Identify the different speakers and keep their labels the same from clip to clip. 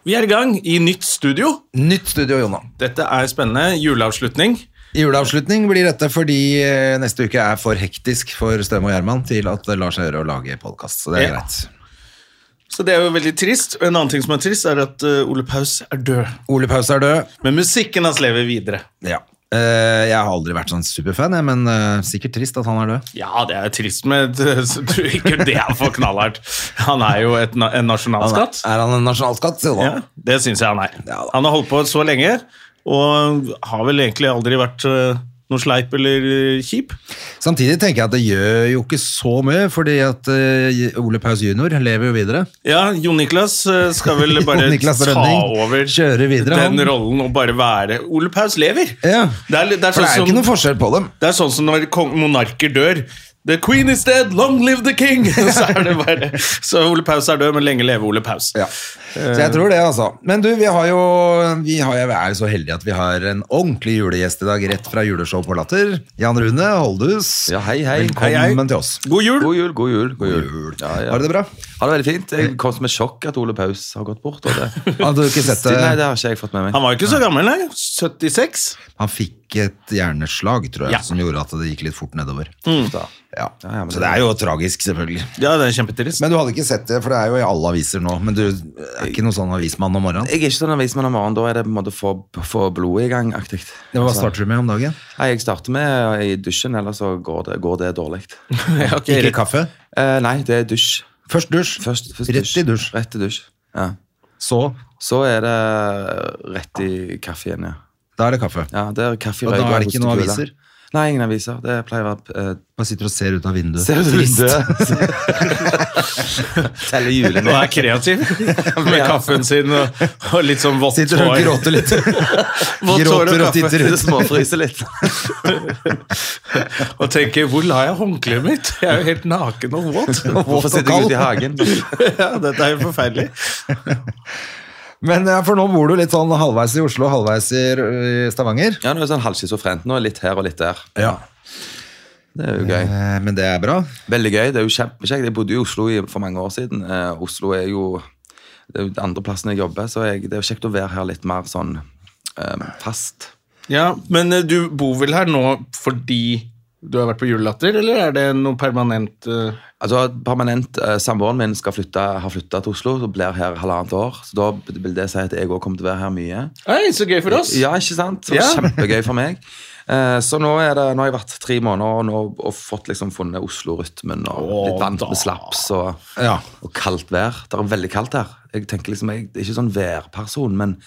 Speaker 1: Vi er i gang i nytt studio.
Speaker 2: Nytt studio, Jonna.
Speaker 1: Dette er spennende. Juleavslutning.
Speaker 2: Juleavslutning blir dette fordi eh, neste uke er for hektisk for Støme og Gjerman til at det lar seg gjøre å lage podkast. Så det er
Speaker 1: Ja.
Speaker 2: greit.
Speaker 1: Så det er jo veldig trist. Og en annen ting som er trist, er at eh, Ole Paus er død.
Speaker 2: Ole Paus er død.
Speaker 1: Men musikken hans lever videre.
Speaker 2: Ja. Eh, jeg har aldri vært sånn superfan, jeg, men eh, sikkert trist at han er død.
Speaker 1: Ja, det er jo trist, men jeg tror ikke det er for knallhardt. Han er jo et, na- en
Speaker 2: Han er,
Speaker 1: nasjonalskatt.
Speaker 2: er han en nasjonalskatt? Jonna?
Speaker 1: Ja, det syns jeg han er.
Speaker 2: Ja da.
Speaker 1: Han har holdt på så lenge, og har vel egentlig aldri vært eh, noe sleip eller eh, kjip.
Speaker 2: Samtidig tenker jeg at det gjør jo ikke så mye, fordi at eh, Ole Paus jr. lever jo videre.
Speaker 1: Ja, Jon Niklas eh, skal vel bare
Speaker 2: Jon Niklas
Speaker 1: ta
Speaker 2: Rønning
Speaker 1: over
Speaker 2: kjører videre, han.
Speaker 1: den rollen og bare være Ole Paus lever!
Speaker 2: Ja.
Speaker 1: Det er, det er
Speaker 2: For det
Speaker 1: sånn
Speaker 2: er jo
Speaker 1: som-
Speaker 2: ikke noe forskjell på dem.
Speaker 1: Det er sånn som når kong- monarker dør. The queen is dead, long live the king! Så, er det bare, så Ole Paus er død, men lenge leve Ole Paus.
Speaker 2: Ja. Så jeg tror det, altså. Men du, vi har jo vi har, Jeg er jo så heldige at vi har en ordentlig julegjest i dag, rett fra juleshow på Latter. Jan Rune Holdhus.
Speaker 3: Ja, hei, hei.
Speaker 2: Velkommen
Speaker 1: Hei, hei.
Speaker 2: til oss.
Speaker 1: God jul!
Speaker 3: God jul, god jul. god jul. Ja, ja.
Speaker 2: Har du det bra?
Speaker 3: Ha det veldig fint. Jeg kom som et sjokk at Ole Paus har gått bort. Og det.
Speaker 2: Hadde du ikke sett det?
Speaker 3: Nei, det har ikke jeg fått med meg.
Speaker 1: Han var jo ikke så gammel, nei. 76.
Speaker 2: Han fikk et hjerneslag, tror jeg,
Speaker 1: Ja. Mm.
Speaker 2: som gjorde at det gikk litt fort nedover.
Speaker 3: Da.
Speaker 2: Ja.
Speaker 3: ja, men
Speaker 2: Så
Speaker 3: det-
Speaker 2: det er jo tragisk, selvfølgelig.
Speaker 1: Ja, det er kjempetrist.
Speaker 2: Men du hadde ikke sett det, for det er jo i alle aviser nå. Men du er ikke noen sånn avismann om morgenen?
Speaker 3: Jeg er ikke sånn avismann om morgenen. Da er det på en måte få, få blodet i gang-aktig.
Speaker 2: Hva starter du med om dagen?
Speaker 3: Nei, Jeg starter med eh, i dusjen, ellers så går det, går det dårlig.
Speaker 1: Ja, ok,
Speaker 2: Ikke
Speaker 1: rett-
Speaker 2: kaffe?
Speaker 3: Eh, nei, det er dusj.
Speaker 2: Først dusj,
Speaker 3: Først, først
Speaker 2: Rett i dusj.
Speaker 3: Rett i dusj. Ja.
Speaker 2: så
Speaker 3: Så er det eh, rett i kaffe igjen, ja.
Speaker 2: Da er det kaffe.
Speaker 3: ja det er kaffe,
Speaker 2: Og da
Speaker 3: røyk
Speaker 2: er det ikke noen
Speaker 3: hostekule.
Speaker 2: aviser?
Speaker 3: Nei, ingen aviser. Det pleier å være eh,
Speaker 2: Bare sitter og ser ut av vinduet.
Speaker 3: Ser du
Speaker 2: Trist.
Speaker 3: det? Teller
Speaker 1: Og
Speaker 3: julene.
Speaker 1: er kreativ med kaffen sin og, og litt sånn vått
Speaker 2: Sitter og
Speaker 1: hår.
Speaker 2: gråter litt.
Speaker 1: Vått hår
Speaker 2: gråter og
Speaker 1: kaffe.
Speaker 2: titter ut.
Speaker 3: Småfryser litt.
Speaker 1: Og tenker 'hvor la jeg håndkleet mitt?' Jeg er jo helt naken og våt.
Speaker 2: og
Speaker 3: Hvorfor sitter jeg ute i
Speaker 2: kald.
Speaker 3: hagen?
Speaker 1: Ja, dette er jo forferdelig.
Speaker 2: Men ja, for nå bor du litt sånn halvveis i Oslo, halvveis i øh, Stavanger.
Speaker 3: Ja, nå er det sånn halvschizofrent. Nå er litt her og litt der.
Speaker 2: Ja.
Speaker 3: Det er jo gøy.
Speaker 2: Eh, Men det er bra.
Speaker 3: Veldig gøy. Det er jo kjempekjekt. Jeg bodde i Oslo i, for mange år siden. Eh, Oslo er jo det er jo den andre plassen jeg jobber, så jeg, det er jo kjekt å være her litt mer sånn eh, fast.
Speaker 1: Ja, Men eh, du bor vel her nå fordi du har vært på julelatter, eller er det noe permanent eh?
Speaker 3: Altså, permanent eh, Samboeren min skal flytte, har flytta til Oslo og blir her halvannet år. Så da vil det si at jeg òg kommer til å være her mye.
Speaker 1: Hei, så gøy for oss!
Speaker 3: Ja, ikke sant? Så
Speaker 1: Ja.
Speaker 3: Kjempegøy for meg. Eh, Så nå, er det, nå har jeg vært tre måneder og, nå, og fått liksom funnet Oslo-rytmen og
Speaker 1: Å,
Speaker 3: blitt vant
Speaker 1: da.
Speaker 3: med slaps og,
Speaker 2: Ja.
Speaker 3: og kaldt vær. Det er veldig kaldt her. Jeg tenker liksom, jeg er ikke sånn værperson, men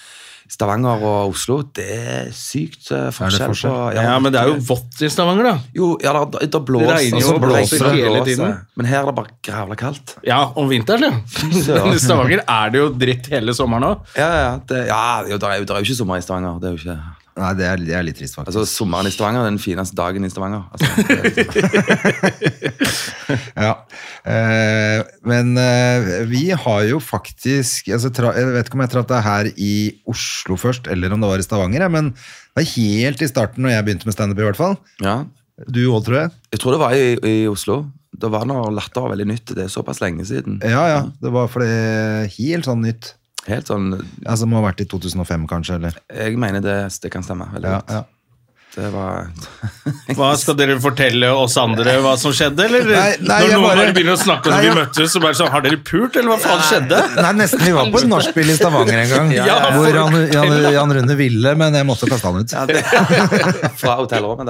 Speaker 3: Stavanger og Oslo, det er sykt eh, forskjell.
Speaker 2: forskjell?
Speaker 3: på-
Speaker 1: Ja, men det er jo vått i Stavanger, da.
Speaker 3: Jo, ja, da, da, da blåser
Speaker 1: Det regner
Speaker 3: og
Speaker 1: jo
Speaker 3: så
Speaker 1: og blåser
Speaker 3: det,
Speaker 1: hele
Speaker 3: blåser.
Speaker 1: tiden.
Speaker 3: Men her er det bare grævla kaldt.
Speaker 1: Ja, om vinteren, ja.
Speaker 3: søren.
Speaker 1: Men I Stavanger er liksom- det jo dritt hele sommeren òg.
Speaker 3: Ja, ja, det, ja jo, det, er jo, det er jo ikke sommer i Stavanger. Det er jo ikke...
Speaker 2: Nei, det er, det er litt trist, faktisk.
Speaker 3: Altså, sommeren i Stavanger er den fineste dagen i Stavanger. Altså, det er liksom-
Speaker 2: Ja. Eh, men eh, vi har jo faktisk altså, tra, Jeg vet ikke om jeg traff deg her i Oslo først, eller om det var i Stavanger, ja, men det var helt i starten når jeg begynte med standup, i hvert fall.
Speaker 3: ja.
Speaker 2: Du òg, tror jeg.
Speaker 3: Jeg tror det var i, i Oslo. Da var når latter var veldig nytt. Det er såpass lenge siden.
Speaker 2: Ja, ja. Det var for det helt sånn nytt.
Speaker 3: Helt sånn,
Speaker 2: Altså, det må ha vært i 2005, kanskje, eller?
Speaker 3: Jeg mener det, det kan stemme. veldig
Speaker 2: Ja,
Speaker 3: godt.
Speaker 2: ja.
Speaker 3: Det var
Speaker 1: Hva Skal dere fortelle oss andre hva som skjedde? eller?
Speaker 2: Nei, nei,
Speaker 1: Når
Speaker 2: jeg
Speaker 1: noen
Speaker 2: bare-
Speaker 1: bare... begynner å snakke om
Speaker 2: Nei,
Speaker 1: at vi
Speaker 2: ja.
Speaker 1: møttes, så bare sånn Har dere pult, eller hva faen skjedde?
Speaker 2: Nei, nesten. Vi var på et nachspiel i Stavanger en gang,
Speaker 1: Ja, ja, ja.
Speaker 2: hvor Jan, Jan, Jan Rune ville, men jeg måtte kaste han ut.
Speaker 3: ja, det, Fra hotellrommet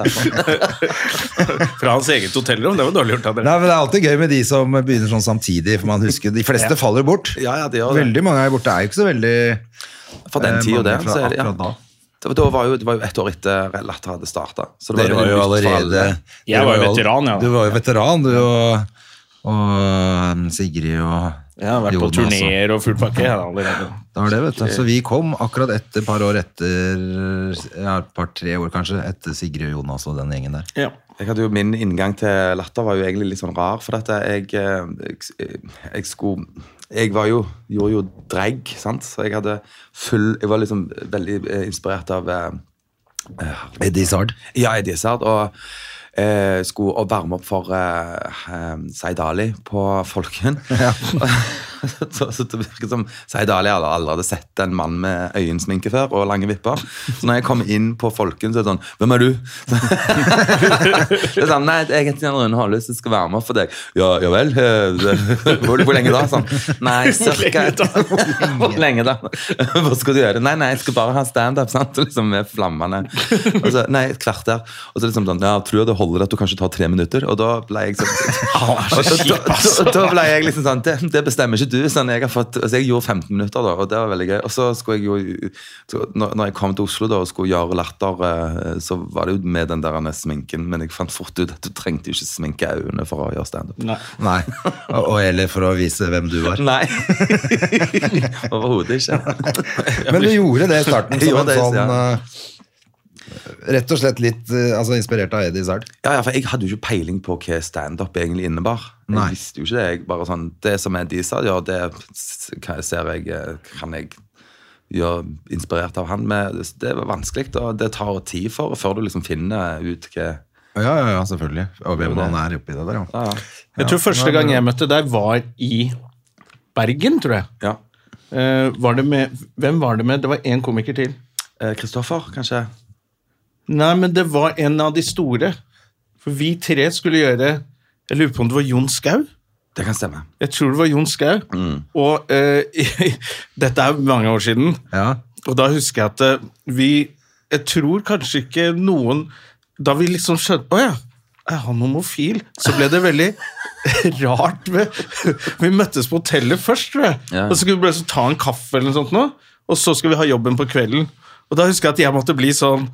Speaker 3: derfor.
Speaker 1: Fra hans eget hotellrom? Det var dårlig gjort av dere.
Speaker 2: Nei, men Det er alltid gøy med de som begynner sånn samtidig, for man husker De fleste faller jo bort.
Speaker 3: Ja, ja, det gjør det.
Speaker 2: Veldig mange er borte. Det er jo ikke så veldig
Speaker 3: For den
Speaker 2: eh,
Speaker 3: tida
Speaker 2: mange
Speaker 3: der,
Speaker 2: fra
Speaker 3: så er det ja.
Speaker 2: akkurat da.
Speaker 3: Det var- Da var jo, det var jo ett år etter Latter hadde starta. Så det
Speaker 2: Dere var jo
Speaker 3: veldig nytt for alle.
Speaker 2: allerede
Speaker 1: Jeg
Speaker 2: dere
Speaker 1: var jo
Speaker 2: all-
Speaker 1: veteran, ja.
Speaker 2: Du var jo veteran, du og, og um, Sigrid og
Speaker 1: Jeg har vært på
Speaker 2: Jonas altså. og-
Speaker 1: turneer og full pakke. jeg, da, allerede.
Speaker 2: Det var det, vet du. Så vi kom akkurat etter, et par år etter, ja, et par-tre år kanskje, etter Sigrid og Jonas og den gjengen der.
Speaker 1: Ja.
Speaker 3: Jeg hadde jo Min inngang til latter var jo egentlig litt sånn rar. For dette, jeg, eh, jeg, jeg skulle Jeg var jo, gjorde jo drag, sant? så jeg hadde full Jeg var liksom veldig eh, inspirert av eh,
Speaker 2: Eddie Sard.
Speaker 3: Ja, Eddie Izzard. Og eh, skulle og varme opp for eh, eh, Zaid Ali på Folken. så, så det virket som Zaid Ali hadde aldri hadde sett en mann med øyensminke før og lange vipper. Så når jeg kom inn på Folken, så er det sånn Hvem er du? det er sånn, Nei, jeg heter Jan Rune Hålhus, jeg skal være med for deg. Ja, ja vel? eh, det- Hvor, hvor lenge da? Sånn. Nei, cirka et Hvor lenge da? Hva skal du gjøre? Nei, nei, jeg skal bare ha standup, sant? Og Liksom med flammene. Og så, nei, et kvarter. Og så liksom sånn, ja, tror jeg det holder at du kanskje tar tre minutter? Og da ble jeg
Speaker 2: Ah,
Speaker 3: sånn og da,
Speaker 2: altså.
Speaker 3: da, da ble jeg liksom sånn Det, det bestemmer ikke du. Sånn, jeg, har fått, altså, jeg gjorde 15 minutter, da, og det var veldig gøy. Og så skulle jeg jo så, når, når jeg kom til Oslo da, og skulle gjøre latter, eh, så var det jo med den der sminken, men jeg fant fort ut at du trengte jo ikke sminke øynene for å gjøre standup.
Speaker 1: Nei.
Speaker 2: Nei, og, og eller for å vise hvem du var.
Speaker 3: Nei! Overhodet ikke.
Speaker 2: Men du gjorde det i starten som
Speaker 3: Jeg gjorde
Speaker 2: en
Speaker 3: det,
Speaker 2: sånn
Speaker 3: ja.
Speaker 2: eh, Rett og slett litt eh, altså inspirert av Eddie Izzard.
Speaker 3: Ja, ja, for Jeg hadde jo ikke peiling på hva standup egentlig innebar. Jeg
Speaker 2: Nei.
Speaker 3: visste jo ikke Det jeg bare sånn, det som er de sa, ja, det s- kan jeg- ser jeg eh, kan jeg gjøre inspirert av han med. Det- Det var vanskelig, og det tar tid for før du liksom finner ut hva
Speaker 2: Ja, ja, ja, selvfølgelig. Og hvem han er oppi det der, ja.
Speaker 3: Ja,
Speaker 1: Jeg tror første gang jeg møtte deg, var i Bergen, tror jeg.
Speaker 3: ja.
Speaker 1: Eh, var det med, hvem var det med? Det var én komiker til.
Speaker 3: Eh, Kristoffer, kanskje?
Speaker 1: Nei, men det var en av de store. For vi tre skulle gjøre Jeg lurer på om det var Jon Skau?
Speaker 3: Det kan stemme.
Speaker 1: Jeg tror det var Jon Skau. Og eh, dette er mange år siden.
Speaker 2: ja.
Speaker 1: Og da husker jeg at eh, vi Jeg tror kanskje ikke noen Da vi liksom skjønte Å ja, er han homofil? Så ble det veldig rart. Med, vi møttes på hotellet først, tror jeg.
Speaker 3: Ja.
Speaker 1: Og så skulle vi bare så ta en kaffe, eller noe sånt nå, og så skulle vi ha jobben på kvelden. Og da husker jeg at jeg måtte bli sånn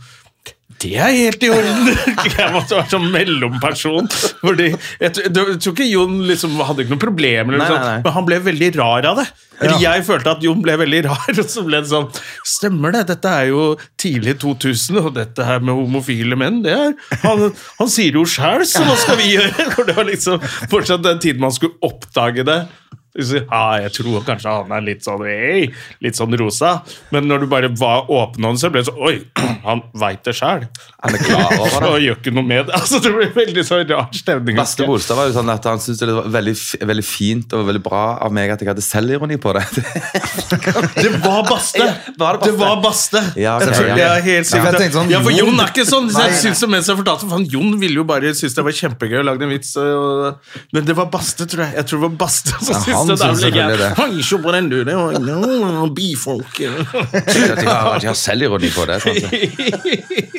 Speaker 1: det er helt i orden! Jeg måtte være sånn mellomperson. Fordi jeg, tr- jeg tror ikke Jon liksom hadde ikke noe problem, eller noe
Speaker 3: Nei, nei,
Speaker 1: sånt,
Speaker 3: nei.
Speaker 1: men han ble veldig rar av det. Eller Jeg følte at Jon ble veldig rar, og så ble det sånn Stemmer det, dette er jo tidlig 2000, og dette her med homofile menn, det er Han, han sier det jo sjæl, så hva skal vi gjøre? For det var liksom fortsatt den tiden man skulle oppdage det. Du sier, Ja, jeg tror kanskje han er litt sånn hey, litt sånn rosa, men når du bare var åpen om det, så ble det sånn Oi, han veit det sjæl.
Speaker 3: Han er klar over det.
Speaker 1: Og gjør ikke noe med det. Altså, det blir veldig så rar stemning.
Speaker 3: Lasse Bolstad var jo sånn at han syntes det var veldig, f- veldig fint og veldig bra av meg at jeg hadde selvironi på det.
Speaker 1: Det var Baste!
Speaker 3: var det Baste?
Speaker 1: Det var Baste.
Speaker 3: Ja, ok,
Speaker 1: Jeg tror
Speaker 3: ja.
Speaker 1: det er
Speaker 2: Ja,
Speaker 1: helt
Speaker 2: for
Speaker 1: sikkert.
Speaker 2: jeg tenkte sånn,
Speaker 1: Ja, for
Speaker 2: Jon-
Speaker 1: Jon er ikke sånn. Så
Speaker 2: Nei,
Speaker 1: jeg synes det mens jeg fortalte for han, Jon ville jo bare synes det var kjempegøy og lagde en vits. Og, men det var Baste, tror jeg. Jeg tror det var Baste som syntes det.
Speaker 3: han synes
Speaker 1: Der ble
Speaker 3: selvfølgelig
Speaker 1: jeg
Speaker 3: det.
Speaker 1: Hang ikke på den, du. Det var no, bifolk.
Speaker 3: At jeg har, at jeg har selvironi på det. sant?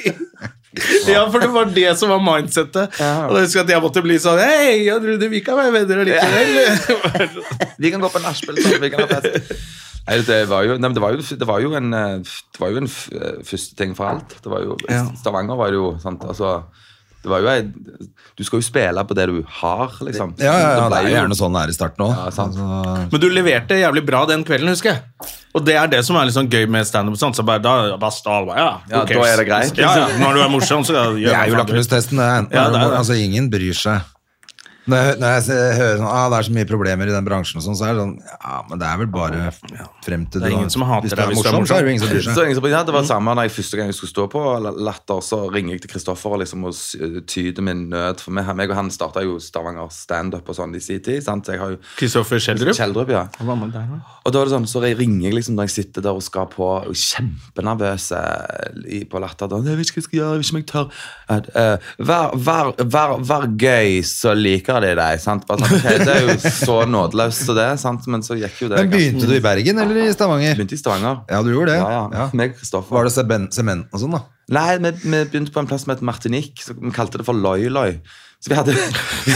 Speaker 1: Ja, for det var det som var mindsettet. Og da husker jeg at jeg måtte bli sånn Hei, jeg trodde vi kan være venner allikevel.
Speaker 3: Vi kan gå på nachspiel sammen. Vi kan ha fest. Nei, det var jo, nei, men det var jo, det var jo en, eh, det var jo en f- eh, første ting for alt. Det var jo, Stavanger var det jo sant, altså, det var jo ei, Du skal jo spille på det du har, liksom.
Speaker 2: Ja, ja, ja,
Speaker 3: Det
Speaker 2: det
Speaker 3: ble
Speaker 2: er jo
Speaker 3: jo-
Speaker 2: gjerne sånn det er i starten òg.
Speaker 3: Ja, sant.
Speaker 1: Men du leverte jævlig bra den kvelden, husker jeg. Og det er det som er litt sånn gøy med standup. sånn, Så bare, da, bare stå, bare, ja,
Speaker 3: Ja,
Speaker 1: who
Speaker 3: da
Speaker 1: cares?
Speaker 3: er det greit.
Speaker 1: Ja, ja, når du er morsom, så gjør
Speaker 2: Det er jo
Speaker 1: faen du.
Speaker 2: lakmustesten. det er enten-
Speaker 1: Ja, det er det.
Speaker 2: Altså, ingen bryr seg. Når jeg, hø- når jeg se- hører sånn, ah, det er så mye problemer i den bransjen, og sånn, så er det sånn Ja, men det er vel bare frem til
Speaker 1: Det er ingen som hater
Speaker 2: Hvis du
Speaker 1: deg
Speaker 2: er morsom, så er det jo ingen som bryr
Speaker 3: Så
Speaker 2: seg.
Speaker 3: ingen som bryr seg. Det var det samme da jeg første gang jeg skulle stå på Latter, så ringer jeg til Kristoffer og liksom og s- tyder min nød. For meg, meg og han starta jo Stavanger standup og sånn i sin tid. sant? Så Jeg har jo
Speaker 1: Kristoffer Schjelderup.
Speaker 3: Kjeldrup, ja.
Speaker 1: Hva med deg, da?
Speaker 3: Og da er det sånn, så ringer jeg liksom når jeg sitter der og skal på og er kjempenervøs eh, i- på latter. Da, jeg vet ikke hva jeg skal gjøre, jeg vet ikke om jeg tør. At, eh, vær, vær, vær, vær gøy, så liker de deg. sant? Bare sånn, ok, Det er jo så nådeløst så det, sant? men så gikk jo det.
Speaker 2: Men begynte du i Bergen eller i Stavanger?
Speaker 3: Begynte i Stavanger.
Speaker 2: Ja, du gjorde det?
Speaker 3: Ja, ja. Meg og Kristoffer.
Speaker 2: Var det seben- sementen og sånn, da?
Speaker 3: Nei, vi, vi begynte på en plass som het Martinique. Så vi kalte det for Loi-Loi. Så vi hadde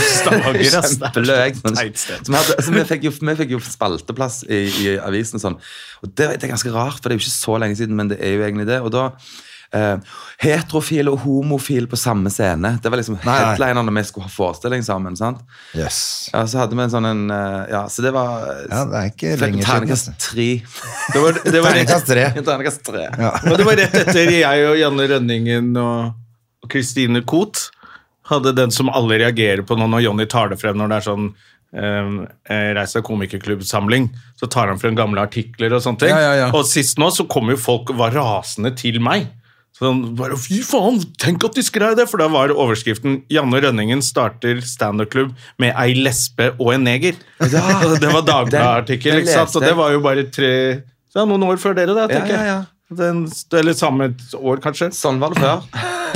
Speaker 1: Stavanger, ass.
Speaker 3: kjempeløg. Sånn,
Speaker 1: Teit sted.
Speaker 3: så vi, hadde, så vi, fikk jo, vi fikk jo spalteplass i, i avisen og sånn. Og det, det er ganske rart, for det er jo ikke så lenge siden, men det er jo egentlig det. Og da eh, eh, heterofile og homofile på samme scene. Det var liksom
Speaker 2: Nei, nei.
Speaker 3: headlinerne vi skulle ha forestilling sammen. sant?
Speaker 2: Yes.
Speaker 3: Ja, så hadde vi en sånn en eh, Ja, så det var
Speaker 2: Ja, det er ikke
Speaker 3: Fikk
Speaker 2: lenger siden.
Speaker 3: Terningkast
Speaker 2: altså.
Speaker 3: tre.
Speaker 1: Det var, det var rett,
Speaker 2: Terningkast tre.
Speaker 3: Terningkast tre.
Speaker 2: Ja.
Speaker 1: men det var rett etter jeg og Janne Rønningen og Kristine Koht hadde den som alle reagerer på nå når Jonny tar det frem når det er sånn Um, Reis deg komikerklubbsamling. Så tar han frem gamle artikler og sånne ting.
Speaker 2: Ja, ja, ja.
Speaker 1: Og sist nå så kom jo folk og var rasende til meg. Sånn bare, Fy faen, tenk at de skrev det! For da var overskriften 'Janne Rønningen starter standup-klubb med ei lesbe og en neger'. Og Det var Dagbladet-artikkel,
Speaker 3: Den- den
Speaker 1: ikke sant? Så
Speaker 3: leste jeg.
Speaker 1: det var jo bare tre så det er noen år før dere, da,
Speaker 3: Ja,
Speaker 1: tenker jeg.
Speaker 3: ja,
Speaker 1: Den, eller samme år, kanskje.
Speaker 3: Sånn var det før.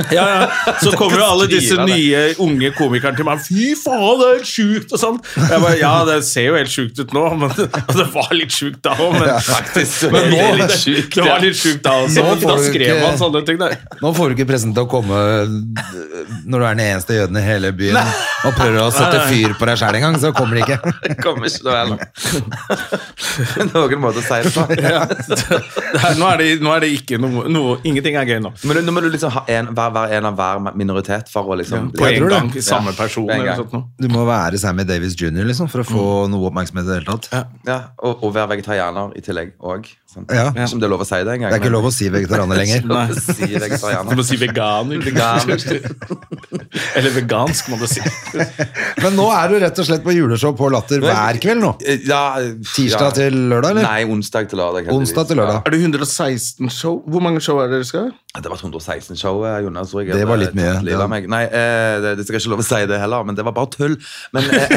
Speaker 1: Ja, ja. Så kommer jo alle disse
Speaker 3: skrive det.
Speaker 1: nye unge komikerne til meg. 'Fy faen, det er helt sjukt!' og sånn. Jeg bare, Ja, det ser jo helt sjukt ut nå, men og det var litt sjukt da òg, men faktisk. Men nå,
Speaker 3: det er litt
Speaker 1: det,
Speaker 3: sjukt,
Speaker 1: det
Speaker 3: ja.
Speaker 1: var litt sjukt da også.
Speaker 2: Nå
Speaker 1: men Da
Speaker 2: får du
Speaker 1: skrev
Speaker 2: ikke-
Speaker 1: man sånne ting. Der.
Speaker 2: Nå får du ikke pressen til å komme eh, når du er den eneste jøden i hele byen og prøver å sette fyr på deg sjæl en gang, så kommer de ikke.
Speaker 3: Det kommer ikke noe heller. Noen måte å si det sånn. på.
Speaker 1: Det er, nå, er det, nå er det ikke noe, noe Ingenting er gøy nå.
Speaker 3: Men nå må du liksom ha en, være, være en av hver minoritet for å liksom
Speaker 1: På
Speaker 3: bli-
Speaker 1: en
Speaker 2: tror det.
Speaker 1: gang. Samme
Speaker 3: Ja,
Speaker 1: person.
Speaker 3: på en
Speaker 1: eller
Speaker 3: gang.
Speaker 1: sånt noe.
Speaker 2: Du må være Sammy Davis jr. Liksom, for å få noe oppmerksomhet i det hele tatt.
Speaker 3: Ja, og, og være vegetarianer i tillegg òg. Sånn.
Speaker 2: Ja.
Speaker 3: Ikke om det er lov å si det engang.
Speaker 2: Det er ikke lov å si vegetarianer lenger.
Speaker 3: Lov å si
Speaker 1: Du
Speaker 3: vegetarianer.
Speaker 1: må si veganer. liksom. Eller vegansk, må du si.
Speaker 2: Men nå er du rett og slett på juleshow på Latter hver kveld nå.
Speaker 3: Eh, Ja,
Speaker 2: Tirsdag
Speaker 3: ja.
Speaker 2: til lørdag, eller?
Speaker 3: Nei, onsdag til lørdag. heldigvis.
Speaker 2: Onsdag til lørdag.
Speaker 1: Er det 116 show? Hvor mange show er det dere skal ha?
Speaker 3: Ja, Det var 116-show, Jonas. tror jeg.
Speaker 2: Det var litt mye.
Speaker 3: Tatt livet av meg. Nei, eh, det, det skal jeg ikke lov å si det heller, men det var bare tull. Men eh,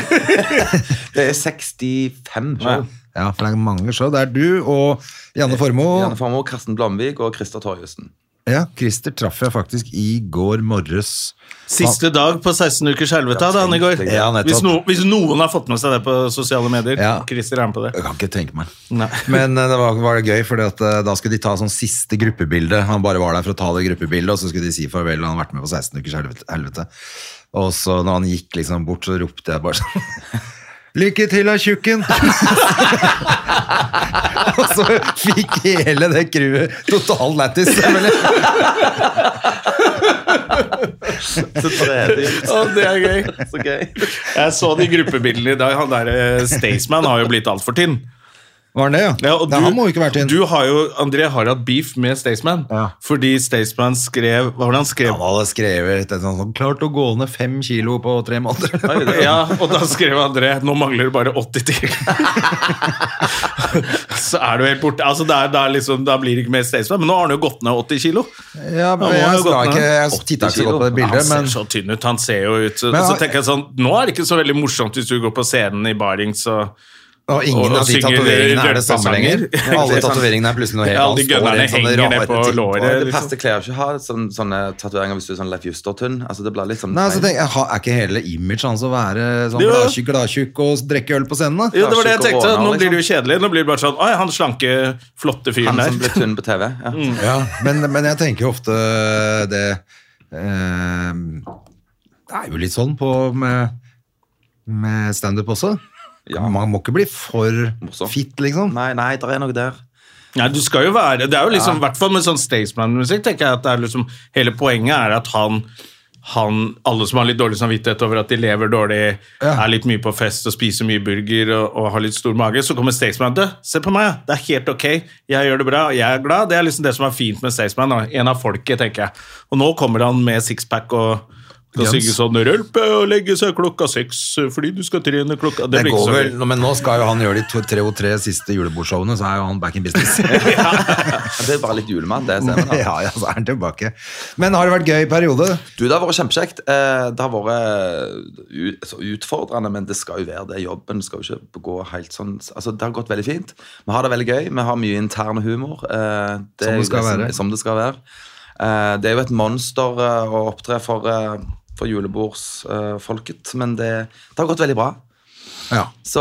Speaker 3: det er 65 show.
Speaker 2: Ja, for det er mange show. Det er du og Janne Formoe.
Speaker 3: Janne Farmoe, Karsten Blomvik og Christer Torjussen.
Speaker 2: Ja, Christer traff jeg faktisk i går morges.
Speaker 1: Siste dag på 16 ukers helvete, hadde han i går.
Speaker 3: tenk
Speaker 2: det. Ja, nettopp.
Speaker 1: hvis, no, hvis noen har fått med seg det på sosiale medier.
Speaker 2: Ja.
Speaker 1: Christer er med på det.
Speaker 2: Jeg kan ikke tenke meg.
Speaker 1: Nei.
Speaker 2: Men eh, det var, var det gøy, for da skulle de ta sånn siste gruppebilde. Han bare var der for å ta det gruppebildet, og så skulle de si farvel. Han har vært med på 16 ukers helvete- helvete. Og så når han gikk liksom bort, så ropte jeg bare sånn Lykke til, da, tjukken! og så fikk hele det crewet total lættis. selvfølgelig.
Speaker 3: Så tredig. det er gøy. Så gøy.
Speaker 1: Jeg så de gruppebildene i dag. Han der eh, Staysman har jo blitt altfor tynn.
Speaker 2: Var han det, ja?
Speaker 1: Ja, og
Speaker 2: Nei, han må jo ikke være tynn.
Speaker 1: Du har jo, André har hatt beef med Staysman.
Speaker 2: Ja.
Speaker 1: Fordi Staysman skrev Hva var det han skrev?
Speaker 2: Han hadde skrevet et sånt sånn, klart å gå ned fem kilo på tre måneder.
Speaker 1: Ja, og da skrev André Nå mangler det bare 80 til Så er du helt borte Altså det er, det er liksom, Da blir det ikke mer Staysman Men nå har han jo gått ned 80 kilo
Speaker 2: Ja, men
Speaker 1: Han må ha
Speaker 2: jeg,
Speaker 1: gått
Speaker 2: sa
Speaker 1: ned
Speaker 2: ikke, jeg tittet ikke så godt på det bildet,
Speaker 1: Han ser
Speaker 2: men
Speaker 1: så tynn ut, han ser jo ut
Speaker 2: Men
Speaker 1: Og så
Speaker 2: han-
Speaker 1: tenker jeg sånn, nå er det ikke så veldig morsomt Hvis du går på scenen i Barings og
Speaker 2: og ingen
Speaker 1: og- og
Speaker 2: av de
Speaker 1: synger
Speaker 2: tatoveringene er det samme
Speaker 1: rølpesanger.
Speaker 2: lenger. Alle tatoveringene er plutselig noe helt
Speaker 1: Ja, alle de
Speaker 2: annet. Står
Speaker 1: gønnerne
Speaker 2: i sånne
Speaker 1: henger ned
Speaker 2: rare
Speaker 1: på
Speaker 2: ting.
Speaker 1: låret.
Speaker 3: Det
Speaker 1: liksom.
Speaker 3: passer klærer ikke å ha sånne, sånne tatoveringer hvis du er sånn Leif Juster-tynn. Altså, det blir litt sånn
Speaker 2: Nei, så tenker jeg, ha- Er ikke hele imaget hans å være sånn
Speaker 1: Jo.
Speaker 2: gladtjukk gladtjukk og drikke øl på scenen? da?
Speaker 1: Jo, det var det jeg
Speaker 3: Kanskje
Speaker 1: tenkte,
Speaker 3: korona,
Speaker 1: nå blir det jo kjedelig Nå blir det bare sånn, oi, han slanke, flotte fyren
Speaker 3: Han som
Speaker 1: der
Speaker 3: blir tynn på TV. Ja.
Speaker 2: Ja, men, men jeg tenker jo ofte det eh, Det er jo litt sånn på med, med standup også.
Speaker 3: Ja.
Speaker 2: Man må ikke bli for
Speaker 3: Morsom.
Speaker 2: fit, liksom.
Speaker 3: Nei, nei, der er noe der.
Speaker 1: Nei, du skal jo være Det er jo liksom, i hvert fall med sånn Staysman-musikk, tenker jeg at det er liksom Hele poenget er at han, han Alle som har litt dårlig samvittighet over at de lever dårlig, er litt mye på fest og spiser mye burger og, og har litt stor mage, så kommer Staysman Du, se på meg, det er helt ok, jeg gjør det bra, jeg er glad. Det er liksom det som er fint med Staysman. da. En av folket, tenker jeg. Og nå kommer han med sixpack og skal synge sånn 'Rølpe og legge seg klokka seks fordi du skal trene klokka
Speaker 2: Det
Speaker 1: blir ikke
Speaker 2: går
Speaker 1: så
Speaker 2: vel,
Speaker 1: gøy.
Speaker 2: nå- men nå skal jo han gjøre de to, tre og tre siste julebordshowene, så er jo han back in business.
Speaker 3: Det er bare litt julemann, det ser vi da.
Speaker 2: ja, ja, så er han tilbake. Men har det vært gøy periode?
Speaker 3: Du, Det har vært kjempekjekt. Eh, Det har vært u- altså, utfordrende, men det skal jo være det. Jobben skal jo ikke gå helt sånn Altså, Det har gått veldig fint. Vi har det veldig gøy. Vi har mye intern humor. eh,
Speaker 2: Som
Speaker 3: er
Speaker 2: det skal
Speaker 3: jo
Speaker 2: være.
Speaker 3: Som, som det skal være. Eh, Det er jo et monster eh, å opptre for, eh, for julebordsfolket, men det, det har gått veldig bra.
Speaker 2: Ja.
Speaker 3: Så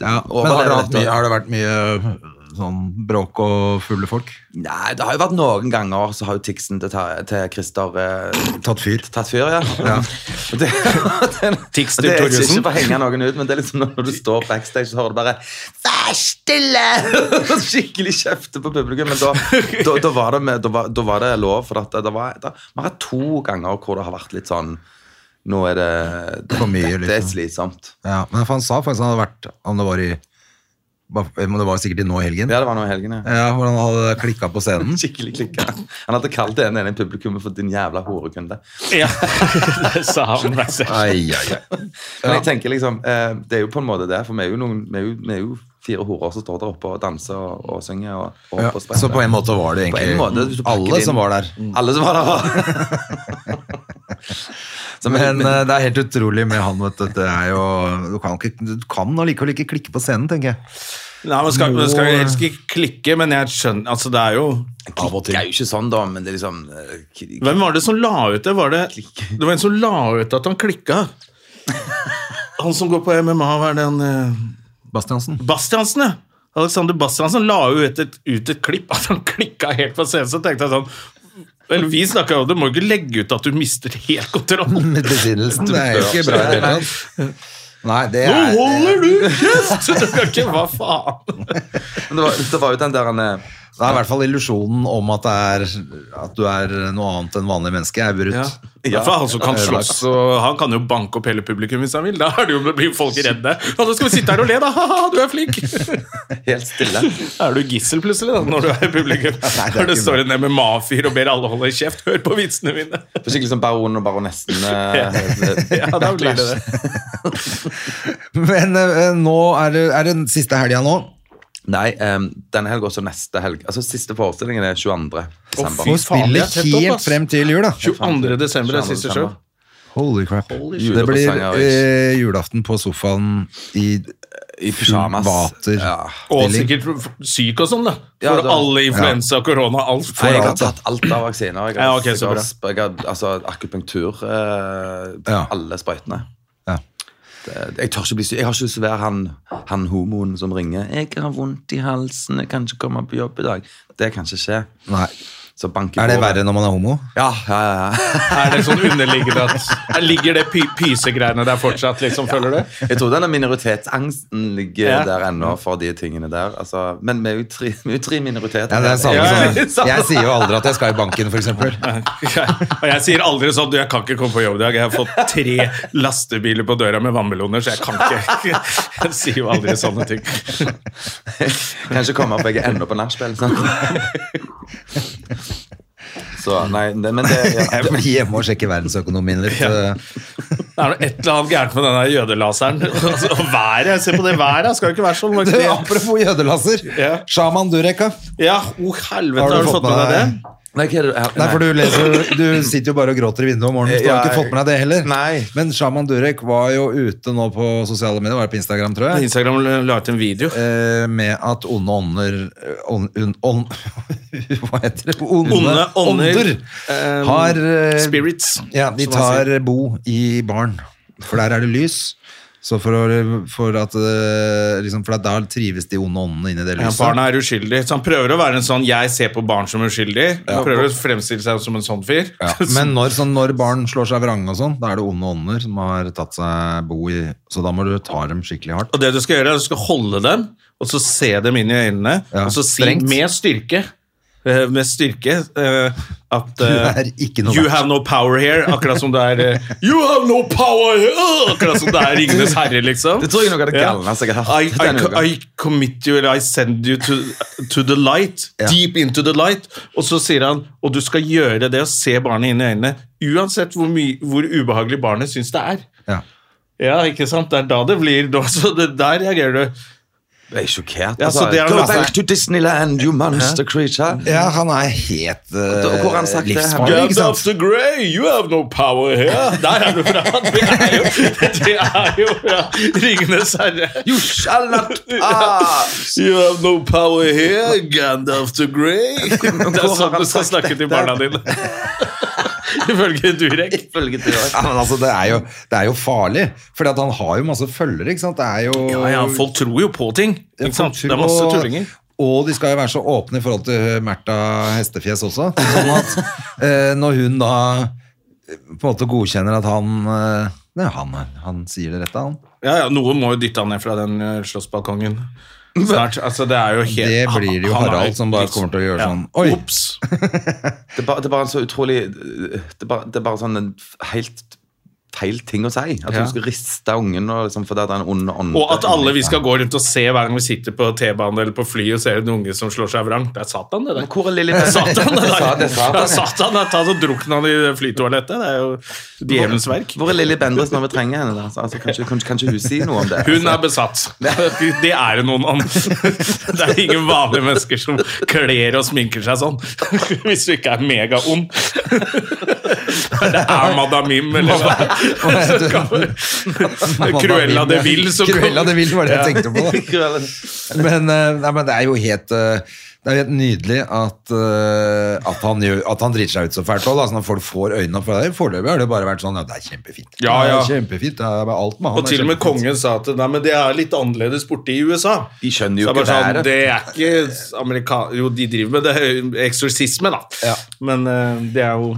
Speaker 2: Men har det, vært mye, har det vært mye sånn bråk og fulle folk?
Speaker 3: Nei, det har jo vært noen ganger så har jo Tixen til, Ta- til Christer eh,
Speaker 2: Tatt fyr?
Speaker 3: tatt fyr, ja. Og Det, det,
Speaker 1: Tix
Speaker 3: og
Speaker 1: til
Speaker 3: det er
Speaker 1: Torgersen.
Speaker 3: ikke for å henge noen ut, men det er liksom når du står backstage, så hører du bare Vær stille! Og Skikkelig kjefte på publikum. Men da, da, da, var, det med, da, var, da var det lov, for at det var da, Vi har hatt to ganger hvor det har vært litt sånn Nå er det det,
Speaker 2: For mye,
Speaker 3: det er
Speaker 2: liksom.
Speaker 3: slitsomt.
Speaker 2: Ja, men han sa faktisk han hadde vært Om det var i Men det var sikkert i nå i helgen.
Speaker 3: Ja, det var nå i helgen, ja.
Speaker 2: Ja, Hvordan hadde klikka på scenen.
Speaker 3: Skikkelig klikka. Han hadde kalt det en enig i publikummet for din jævla horekunde.
Speaker 1: Ja, det sa han meg selv.
Speaker 2: Ai, ai, ai.
Speaker 3: Men jeg tenker liksom, eh, det er jo på en måte det, for vi er jo, noen, vi er jo, vi er jo fire horer som står der oppe og danser og, og synger. Og, og
Speaker 2: Ja,
Speaker 3: på sprett.
Speaker 2: så på en måte var det
Speaker 3: På
Speaker 2: egentlig
Speaker 3: en måte, hvis du
Speaker 2: alle
Speaker 3: pakker det inn. Mm.
Speaker 2: som var der.
Speaker 3: Alle som var der, var Så,
Speaker 2: Men eh, det er helt utrolig med han, vet du. Det er jo, du kan, ikke, du kan allikevel ikke klikke på scenen, tenker jeg.
Speaker 1: Nei, man skal, man skal helst ikke klikke, men jeg skjønner Altså, det er jo
Speaker 3: av og til. Det er jo ikke sånn, da, men det er liksom eh, k-
Speaker 1: Hvem var det som la ut det? Var det, det var en som la ut at han klikka. Han som går på MMA, hva er det han eh,
Speaker 2: Bastiansen.
Speaker 1: Bastiansen, ja. Alexander Bastiansen la jo ut et, ut et klipp at han klikka helt på scenen. Så tenkte jeg sånn Vel, vi snakka jo om det, må ikke legge ut at du mister helt kontroll.
Speaker 2: Med besinnelsen. Det er jo ikke bra i det hele tatt. Nei, det
Speaker 1: Nå
Speaker 2: er
Speaker 1: holder du kjeft! Du kan ikke, hva faen?
Speaker 3: Men det, var, det var jo den der han eh,
Speaker 2: Det er i hvert fall illusjonen om at, det er, at du er noe annet enn vanlig menneske, er brutt.
Speaker 1: Ja. for han som kan slåss, og han kan jo banke opp hele publikum hvis han vil. Da er det jo, blir folk redde. Ja, nå skal vi sitte her og le, da! Ha-ha, du er flink!
Speaker 3: helt stille.
Speaker 1: Da er du gissel plutselig, da, når du er i publikum.
Speaker 2: er
Speaker 1: Når det
Speaker 2: ikke
Speaker 1: står en MMA-fyr og ber alle holde kjeft. Hør på vitsene mine!
Speaker 3: For Skikkelig som baron og baronessen. eh,
Speaker 1: Ja, da blir det det.
Speaker 2: Men eh, nå er det, er det den siste helga nå.
Speaker 3: Nei, eh, denne helga også neste helg. Altså Siste forestillingen er 22. desember.
Speaker 1: fy
Speaker 2: Må
Speaker 1: faen, det
Speaker 2: spille
Speaker 1: er tett opp,
Speaker 2: helt
Speaker 1: ass.
Speaker 2: frem til jul, da.
Speaker 1: 22. desember er
Speaker 3: 22.
Speaker 1: siste show.
Speaker 2: Holy crap.
Speaker 3: shit.
Speaker 2: det blir
Speaker 3: Julepresanger,
Speaker 2: eh, julaften på sofaen i
Speaker 3: I pyjamas.
Speaker 2: Vater.
Speaker 3: Ja.
Speaker 1: Og
Speaker 2: Stilling.
Speaker 1: sikkert syk og sånn, da.
Speaker 3: Ja,
Speaker 1: For
Speaker 3: da-
Speaker 1: alle influensa, korona, alt.
Speaker 3: Nei,
Speaker 1: For
Speaker 3: jeg har
Speaker 1: alt.
Speaker 3: tatt alt av vaksiner. Jeg har,
Speaker 1: Ja, ok, så
Speaker 3: jeg
Speaker 1: bra.
Speaker 3: har, sp- jeg har altså, akupunktur eh, på
Speaker 2: Ja.
Speaker 3: alle sprøytene.
Speaker 2: Ja.
Speaker 3: Det- Jeg tør ikke bli syk. Jeg har ikke lyst til å være han, han homoen som ringer 'Jeg har vondt i halsen, jeg kan ikke komme på jobb i dag'. Det kan ikke skje.
Speaker 2: Nei.
Speaker 3: Så banker
Speaker 2: Er det verre når man er homo?
Speaker 3: Ja, ja, ja, ja.
Speaker 1: Er det sånn underliggende at her Ligger det py pysegreiene der fortsatt, liksom? Føler du?
Speaker 3: Jeg tror denne minoritetsangsten ligger
Speaker 1: Ja.
Speaker 3: der ennå for de tingene der. Altså, men vi er jo tre, vi er jo tre minoriteter.
Speaker 2: Ja, det er samme
Speaker 1: Ja, ja,
Speaker 3: ja.
Speaker 2: som Jeg sier jo aldri at jeg skal i banken, for eksempel.
Speaker 1: Og jeg sier aldri sånn Du, jeg kan ikke komme på jobb i dag. Jeg har fått tre lastebiler på døra med vannmeloner, så jeg kan ikke Jeg sier jo aldri sånne ting.
Speaker 3: Kan ikke komme opp, jeg er ennå på nachspiel. sant? Så nei, det, men det ja.
Speaker 2: Jeg blir hjemme og sjekker verdensøkonomien litt. eh.
Speaker 1: Det er noe et eller annet gærent med den der jødelaseren. Altså, Og været! Se på det været! Skal det ikke være sånn?
Speaker 2: Du,
Speaker 1: Maxi?
Speaker 2: apropos jødelasser.
Speaker 1: Ja.
Speaker 2: Shaman Dureka.
Speaker 1: Ja, o helvete, har du fått med deg det?
Speaker 3: Nei, hva er det?
Speaker 2: Nei, for du, leser, du sitter jo bare og gråter i vinduet om morgenen. Så du har
Speaker 3: Ja,
Speaker 2: ikke fått med deg det heller.
Speaker 3: nei.
Speaker 2: Men Shaman Durek var jo ute nå på sosiale medier, var det på Instagram, tror jeg.
Speaker 1: Instagram la ut en video.
Speaker 2: eh, med at onde ånder eh, on, un, on, Hva heter det? Onde,
Speaker 1: Onde ånder, eh,
Speaker 2: har eh,
Speaker 1: spirits,
Speaker 2: Ja, de
Speaker 1: som man sier.
Speaker 2: tar bo i barn, for der er det lys. Så for, å, for at eh, liksom, For at da trives de onde åndene inni det
Speaker 1: Ja,
Speaker 2: lyset.
Speaker 1: barna er uskyldige. Så han prøver å være en sånn 'jeg ser på barn som uskyldig'. Han prøver å fremstille seg som en sånn fyr.
Speaker 2: Ja, Men når, sånn, når barn slår seg vrang og sånn, da er det onde ånder som har tatt seg bo i Så da må du ta dem skikkelig hardt.
Speaker 1: Og det du skal gjøre, er at du skal holde dem, og så se dem inn i øynene,
Speaker 2: Ja,
Speaker 1: og så si
Speaker 2: strengt.
Speaker 1: med styrke eh, med styrke eh, at eh,
Speaker 2: Du er ikke noe
Speaker 1: You
Speaker 2: verdt.
Speaker 1: have no power here. Akkurat som det er eh, You have no power here! Åh, Akkurat som det er Ringenes herre, liksom.
Speaker 3: Det tror jeg nok er Ah, det
Speaker 1: Ja.
Speaker 3: galneste jeg har
Speaker 1: I,
Speaker 3: hørt. denne uka.
Speaker 1: I, I commit you, eller I send you to, to the light. Deep into the light. Og så sier han, og du skal gjøre det og se barnet inn i øynene, uansett hvor, mye- hvor ubehagelig barnet syns det er.
Speaker 2: Ja.
Speaker 1: Ja, ikke sant? Det er da det blir da, Så det der reagerer du.
Speaker 3: Jeg er sjokkert.
Speaker 1: Ja, så
Speaker 3: altså.
Speaker 1: det er
Speaker 3: Go
Speaker 1: det-
Speaker 3: back to Disneyland, you monster creature.
Speaker 2: Ja, han er helt
Speaker 3: Da- hvor har han
Speaker 2: uh,
Speaker 3: sagt det?
Speaker 2: livsfarlig, ikke sant?
Speaker 1: the grey, you have no power here. Der er du fra. Det er jo, det er jo fra Ringenes herre.
Speaker 3: You shall not ah.
Speaker 1: You have no power here, Gandalf the grey. Det er sånn du skal snakke til barna dine. Ifølge Durek.
Speaker 3: Følge til
Speaker 2: Ja, men altså, det er jo, det er jo farlig, for han har jo masse følgere, ikke sant? Det er jo
Speaker 1: Ja, ja, folk tror jo på ting. Ikke sant? Det er
Speaker 2: tror-
Speaker 1: masse tullinger.
Speaker 2: Og de skal jo være så åpne i forhold til Märtha Hestefjes også. Sånn at eh, når hun da eh, på en måte godkjenner at han eh, Nei, han, han sier det rette, han.
Speaker 1: Ja, ja, Noen må jo dytte han ned fra den eh, slåssbalkongen. Snart. Altså, det er jo helt
Speaker 2: Det blir det jo
Speaker 1: han- han er
Speaker 2: Harald som bare kommer til å gjøre sånn, oi.
Speaker 1: Ops!
Speaker 3: Det er bare, det er bare en så utrolig Det er bare, det er bare sånn en helt feil ting å si. At
Speaker 1: Ja.
Speaker 3: du skal riste ungen og liksom, fordi at det er en ond ånde.
Speaker 1: Og at alle vi skal gå rundt og se hver gang vi sitter på T-banen eller på fly og ser en unge som slår seg vrang. Det er Satan, det der.
Speaker 3: Men Hvor er Lilly
Speaker 1: Det er Satan, det der.
Speaker 3: Det er Satan.
Speaker 1: Det er Satan, det er tatt og drukna i flytoalettet. Det er jo djevelens verk.
Speaker 3: Hvor er Lilly Bendriss når vi trenger henne? da? Altså, kanskje, kanskje, kanskje hun sier noe om det?
Speaker 1: Hun er besatt. Det er det noen andre. Det er ingen vanlige mennesker som kler og sminker seg sånn. Hvis du ikke er megaond. Det er Madame Mim, eller hva Så kommer- Cruella de Vil som
Speaker 2: Cruella de Vil var det jeg tenkte på. da.
Speaker 3: Hun
Speaker 2: Men, eh, nei, men det er jo helt eh, det er jo helt nydelig at, eh, at, han, gjør, at han driter seg ut så fælt. Også, altså når folk får øynene opp for det. Foreløpig har det jo bare vært sånn ja, det er kjempefint.
Speaker 1: Ja, ja.
Speaker 2: Det er kjempefint, det er bare alt med han.
Speaker 1: Og
Speaker 2: er
Speaker 1: til og med
Speaker 2: kjempefint.
Speaker 1: kongen sa at nei, men det er litt annerledes borte i USA.
Speaker 3: De skjønner jo
Speaker 1: Så jeg bare
Speaker 3: ikke
Speaker 1: sånn,
Speaker 3: været.
Speaker 1: det er ikke amerika Jo, de driver med det, eksorsisme, da.
Speaker 2: Ja.
Speaker 1: Men eh, det er jo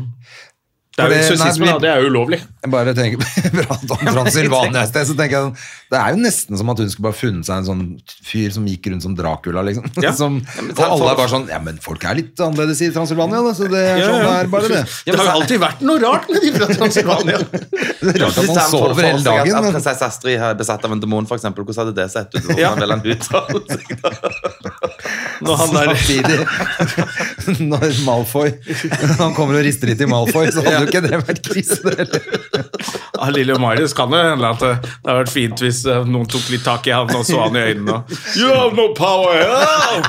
Speaker 1: det
Speaker 2: For
Speaker 1: er jo
Speaker 2: det-
Speaker 1: eksorsisme,
Speaker 2: nei,
Speaker 1: da.
Speaker 2: vi-
Speaker 1: Det er jo ulovlig.
Speaker 2: Jeg bare tenker prat om Transilvania et sted, så tenker jeg sånn Det er jo nesten som at hun skulle bare funnet seg en sånn fyr som gikk rundt som Dracula, liksom.
Speaker 1: Ja.
Speaker 2: Som, og alle er bare sånn Ja, men folk er litt annerledes i Transilvania, da, så det er sånn det er bare det.
Speaker 1: Det har jo alltid vært noe rart med de fra Transilvania.
Speaker 2: Det er rart at man
Speaker 3: Hvis han får
Speaker 2: sover hele
Speaker 3: for seg at-
Speaker 2: dagen,
Speaker 3: At
Speaker 2: men
Speaker 3: prinsesse Astrid er besatt av en demon, for eksempel Hvordan hadde det sett ut? Hvordan
Speaker 1: Ja.
Speaker 3: ville han uttale seg da?
Speaker 1: Når han der
Speaker 2: samtidig Når Malfoy Han kommer og rister litt i Malfoy, så hadde jo ikke det vært krise, det heller.
Speaker 1: ja, Lille Marius kan det hende at eh, det det hadde vært fint hvis eh, noen tok litt tak i han og så han i øynene og You have no power here!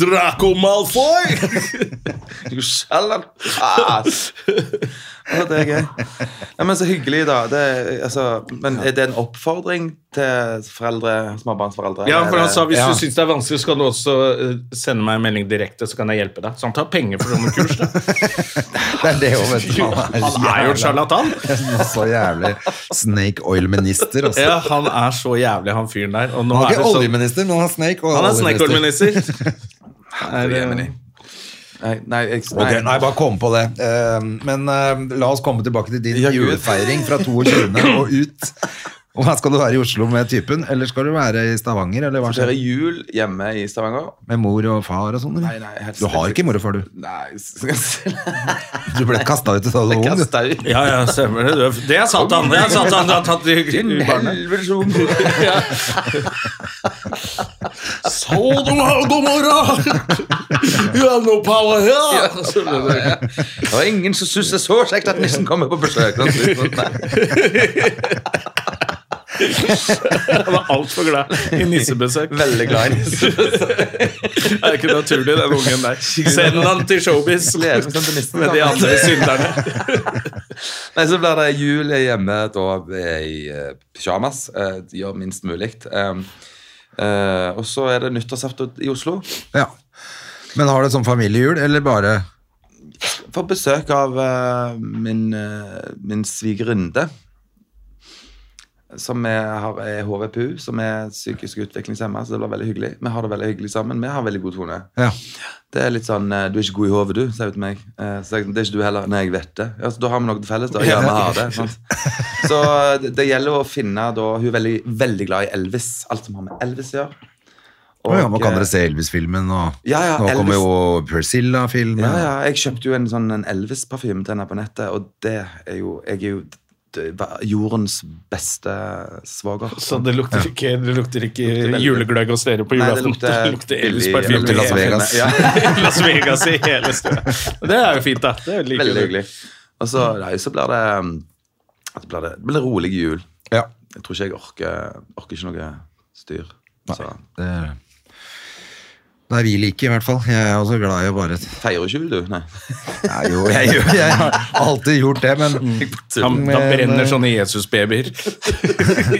Speaker 1: Draco Malfoy!
Speaker 3: Du skjeller ass. Å, Ah! Det er gøy. Nei, men så hyggelig, da. Det, er- altså, men er det en oppfordring til foreldre, småbarnsforeldre?
Speaker 1: Ja, for han sa
Speaker 3: Eller-
Speaker 1: hvis
Speaker 2: Ja.
Speaker 1: du syns det er vanskelig, så kan du også eh, sende meg en melding direkte, så kan jeg hjelpe deg. Så han tar penger for sånne kurs. Da.
Speaker 2: Det er det òg, vet du.
Speaker 1: Han er jo en sjarlatan.
Speaker 2: jævla- så jævlig Snake Oil-minister, altså.
Speaker 1: Ja, han er så jævlig, han fyren der. Og nå
Speaker 2: Han er
Speaker 1: er det
Speaker 2: ikke
Speaker 1: sånn
Speaker 2: oljeminister, men han er snake. og
Speaker 1: Han er
Speaker 2: oljeminister.
Speaker 1: snekkorminister.
Speaker 3: Nei, nei, jeg, nei.
Speaker 2: Ok, nei, bare kom på det. Eh, men eh, la oss komme tilbake til din
Speaker 3: Ja, Gud.
Speaker 2: julefeiring fra 22. og ut. Og her skal du være i Oslo med typen, eller skal du være i Stavanger, eller hva
Speaker 3: Feire
Speaker 2: skjer?
Speaker 3: jul hjemme i Stavanger?
Speaker 2: Med mor og far og sånn? eller?
Speaker 3: Nei, nei, helst
Speaker 2: Du har
Speaker 3: ikke.
Speaker 2: ikke mor og far, du.
Speaker 3: Nei skal jeg se
Speaker 2: Du ble kasta ut da du var ung. du.
Speaker 3: Kastet ut.
Speaker 1: Ja, ja, stemmer det. Du- Det er Satan. Det er Satan. Du har tatt
Speaker 3: Din
Speaker 1: i- i barnet.
Speaker 3: helvete så ung.
Speaker 1: Ja. Sodom og Gomorra! You have no power here! Så ble det-
Speaker 3: Det var ingen som syntes det er så kjekt at nissen kommer på besøk. sånn? Nei.
Speaker 1: Jeg var altfor glad i nissebesøk.
Speaker 3: Veldig glad i nissen.
Speaker 1: Det er ikke naturlig, den ungen der. Send han til showbiz med
Speaker 3: Gleder meg sånn til nissen.
Speaker 1: de andre synderne.
Speaker 3: Nei, så blir det jul hjemme da i uh, pyjamas. eh, gjør minst mulig. Um, eh, og så er det nyttårsaften i Oslo.
Speaker 2: Ja. Men har du et sånt familiejul, eller bare
Speaker 3: Får besøk av eh, min, eh, min svigerinde. Som er, har- er HVPU, som er psykisk utviklingshemma. Så det blir veldig hyggelig. Vi har det veldig hyggelig sammen. Vi har veldig god tone.
Speaker 2: Ja.
Speaker 3: Det er litt sånn eh, Du er ikke god i hodet, du, sier hun til meg. Eh, Så jeg, det er ikke du heller. Nei, jeg vet det. Ja, så da har vi noe til felles, da. Ja, vi har det. Sant? Så eh, det, det gjelder å finne da Hun er veldig, veldig glad i Elvis. Alt som har med Elvis å gjøre.
Speaker 2: Å ja, man kan
Speaker 3: eh,
Speaker 2: dere se Elvis-filmen, og
Speaker 3: Ja, ja,
Speaker 2: nå kommer
Speaker 3: Elvis.
Speaker 2: jo Priscilla-filmen.
Speaker 3: ja, ja, jeg kjøpte jo en sånn en Elvis-parfyme til henne på nettet, og det er jo Jeg er jo d- d- jordens beste svoger.
Speaker 1: Så det lukter ikke, det lukter ikke
Speaker 3: veldig-
Speaker 1: julegløgg hos dere på
Speaker 3: Nei,
Speaker 1: julaften.
Speaker 3: det lukter-
Speaker 1: Det lukter Elvis
Speaker 3: billig-
Speaker 1: parfyme.
Speaker 2: lukter Las
Speaker 1: i hele-
Speaker 2: Vegas.
Speaker 3: Ja.
Speaker 1: Las Vegas i hele stua. Det er jo fint, da. Det er jo like
Speaker 3: Veldig
Speaker 1: kult.
Speaker 3: hyggelig. Og så, nei, så blir det um, Så blir det, det blir en rolig jul.
Speaker 2: Ja.
Speaker 3: Jeg tror ikke jeg orker, orker ikke noe styr. Så
Speaker 2: Det det er vi like, i hvert fall. Jeg er også glad i å bare
Speaker 3: feirer ikke jul, du? Nei.
Speaker 2: Nei, jo, jeg, gjør- jeg har alltid gjort det, men
Speaker 1: Han, da
Speaker 2: Men,
Speaker 1: brenner
Speaker 2: eh,
Speaker 1: sånne Jesusbabyer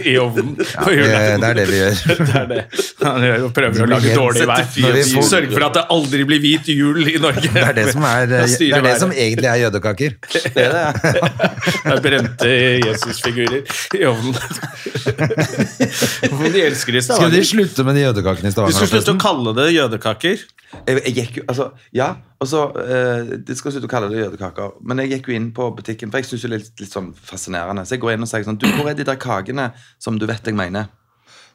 Speaker 1: i ovnen på
Speaker 2: det, eh,
Speaker 1: julaften.
Speaker 2: det er det vi gjør.
Speaker 1: Det er det. Han gjør- prøver å
Speaker 2: Det blir
Speaker 1: lage
Speaker 2: helt
Speaker 1: dårlig vær.
Speaker 2: 74 Når vi får-
Speaker 1: Sørge for at det aldri blir hvit jul i Norge.
Speaker 2: Det er det som, er, eh,
Speaker 1: Da
Speaker 2: det
Speaker 1: styrer
Speaker 2: er det som
Speaker 1: været.
Speaker 2: egentlig er jødekaker.
Speaker 3: Det er det.
Speaker 1: Det er brente Jesusfigurer i ovnen. Hvorfor de elsker det i
Speaker 2: Skulle de
Speaker 1: Stavanger?
Speaker 2: slutte med de jødekakene i
Speaker 1: De
Speaker 2: Stavanger?
Speaker 1: skulle slutte å
Speaker 2: forresten?
Speaker 1: kalle det jødekaker.
Speaker 3: Jeg, jeg gikk jo, altså, ja, og så eh, Det skal slutte å kalle det jødekaker, men jeg gikk jo inn på butikken, for jeg syns det er litt, litt sånn fascinerende. Så jeg går inn og sier sånn Du, hvor er de der kakene som du vet jeg mener?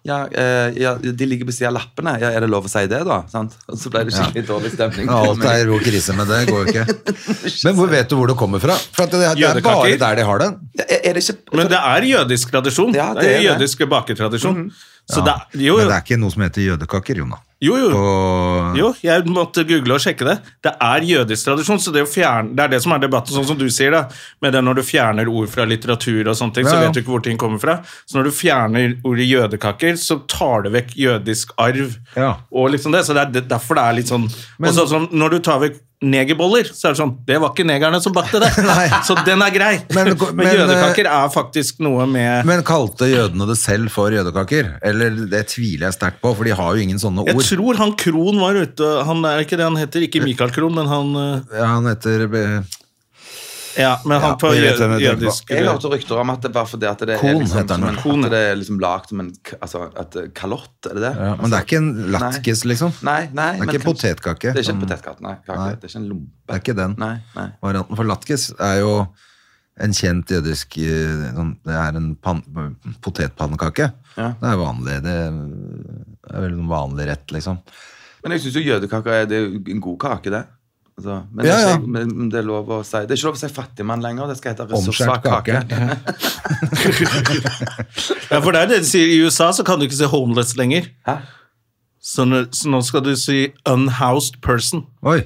Speaker 3: Ja, eh, ja de ligger på siden av lappene. Ja, er det lov å si det, da? Sant? Og så ble det skikkelig dårlig stemning.
Speaker 2: Ja, alt er ro krise, men det går jo ikke. Men hvor vet du hvor det kommer fra? For at det, det er bare
Speaker 1: Jødekaker.
Speaker 2: der de har det.
Speaker 3: Ja, er, er det ikke
Speaker 1: Men det er jødisk tradisjon.
Speaker 3: Ja,
Speaker 1: det er
Speaker 3: det er det.
Speaker 1: jødisk baketradisjon. Så
Speaker 2: Mhm.
Speaker 1: det,
Speaker 2: Ja.
Speaker 1: er- jo,
Speaker 2: Men det
Speaker 1: jo,
Speaker 2: er ikke noe som heter jødekaker, Jona.
Speaker 1: jo, jo,
Speaker 2: Og
Speaker 1: jo, jeg måtte google og sjekke det. Det er jødisk tradisjon, så det, å fjerne, det er det som er debatten, sånn som du sier det. Med det når du fjerner ord fra litteratur og sånne ting, så
Speaker 2: Ja, ja.
Speaker 1: vet du ikke hvor ting kommer fra. Så når du fjerner ordet jødekaker, så tar du vekk jødisk arv.
Speaker 2: Ja.
Speaker 1: Og liksom det, så det er det- derfor det er litt sånn
Speaker 2: Men-
Speaker 1: Og så sånn, når du tar vekk negerboller, så er det sånn Det var ikke negerne som bakte det! så den er grei!
Speaker 2: Men-
Speaker 1: Men,
Speaker 2: men, eh,
Speaker 1: jødekaker er faktisk noe med
Speaker 2: Men kalte jødene det selv for jødekaker? Eller det tviler jeg sterkt på, for de har jo ingen sånne
Speaker 1: Jeg
Speaker 2: ord.
Speaker 1: tror han Krohn var ute Han er ikke det han heter, ikke Michael Krohn, men han eh,
Speaker 2: Ja, han heter eh,
Speaker 1: Ja, men han
Speaker 2: Ja,
Speaker 1: på
Speaker 2: vi vet
Speaker 1: jø-
Speaker 2: hvem jeg tenker på.
Speaker 1: jødisk
Speaker 3: Jeg hørte rykter om at det var fordi at det er
Speaker 2: Kon
Speaker 3: liksom,
Speaker 2: heter den.
Speaker 3: som en,
Speaker 1: Kon, ja.
Speaker 3: at det er liksom lagd som en k- altså, at, eh, kalott, er det det?
Speaker 2: ja, Men det er ikke en latkis, liksom.
Speaker 3: Nei,
Speaker 2: Det
Speaker 3: nei.
Speaker 2: er
Speaker 3: men
Speaker 2: ikke en
Speaker 3: kanskje-
Speaker 2: potetkake.
Speaker 3: Det er ikke en
Speaker 2: som-
Speaker 3: potetkake, nei, kake.
Speaker 2: Nei.
Speaker 3: Det er ikke en lompe.
Speaker 2: Det er ikke den.
Speaker 3: Nei, nei.
Speaker 2: Varianten for latkis er jo en kjent jødisk eh, sånn, Det er en pan, potetpannekake.
Speaker 3: Ja.
Speaker 2: Det er vanlig. Det er vel en vanlig rett, liksom.
Speaker 3: Men jeg syns jo jødekaker er, det er jo en god kake, det. Altså, men,
Speaker 2: Ja,
Speaker 3: det er
Speaker 2: ja.
Speaker 3: ikke, men men det er lov å si Det er ikke lov å si fattigmann lenger. Det skal hete
Speaker 2: Omskjært
Speaker 3: ressurssvak kake.
Speaker 1: Ja, for det er det de sier i USA, så kan du ikke si homeless lenger.
Speaker 3: Hæ?
Speaker 1: Så nå, så nå skal du si unhoused person.
Speaker 2: Oi!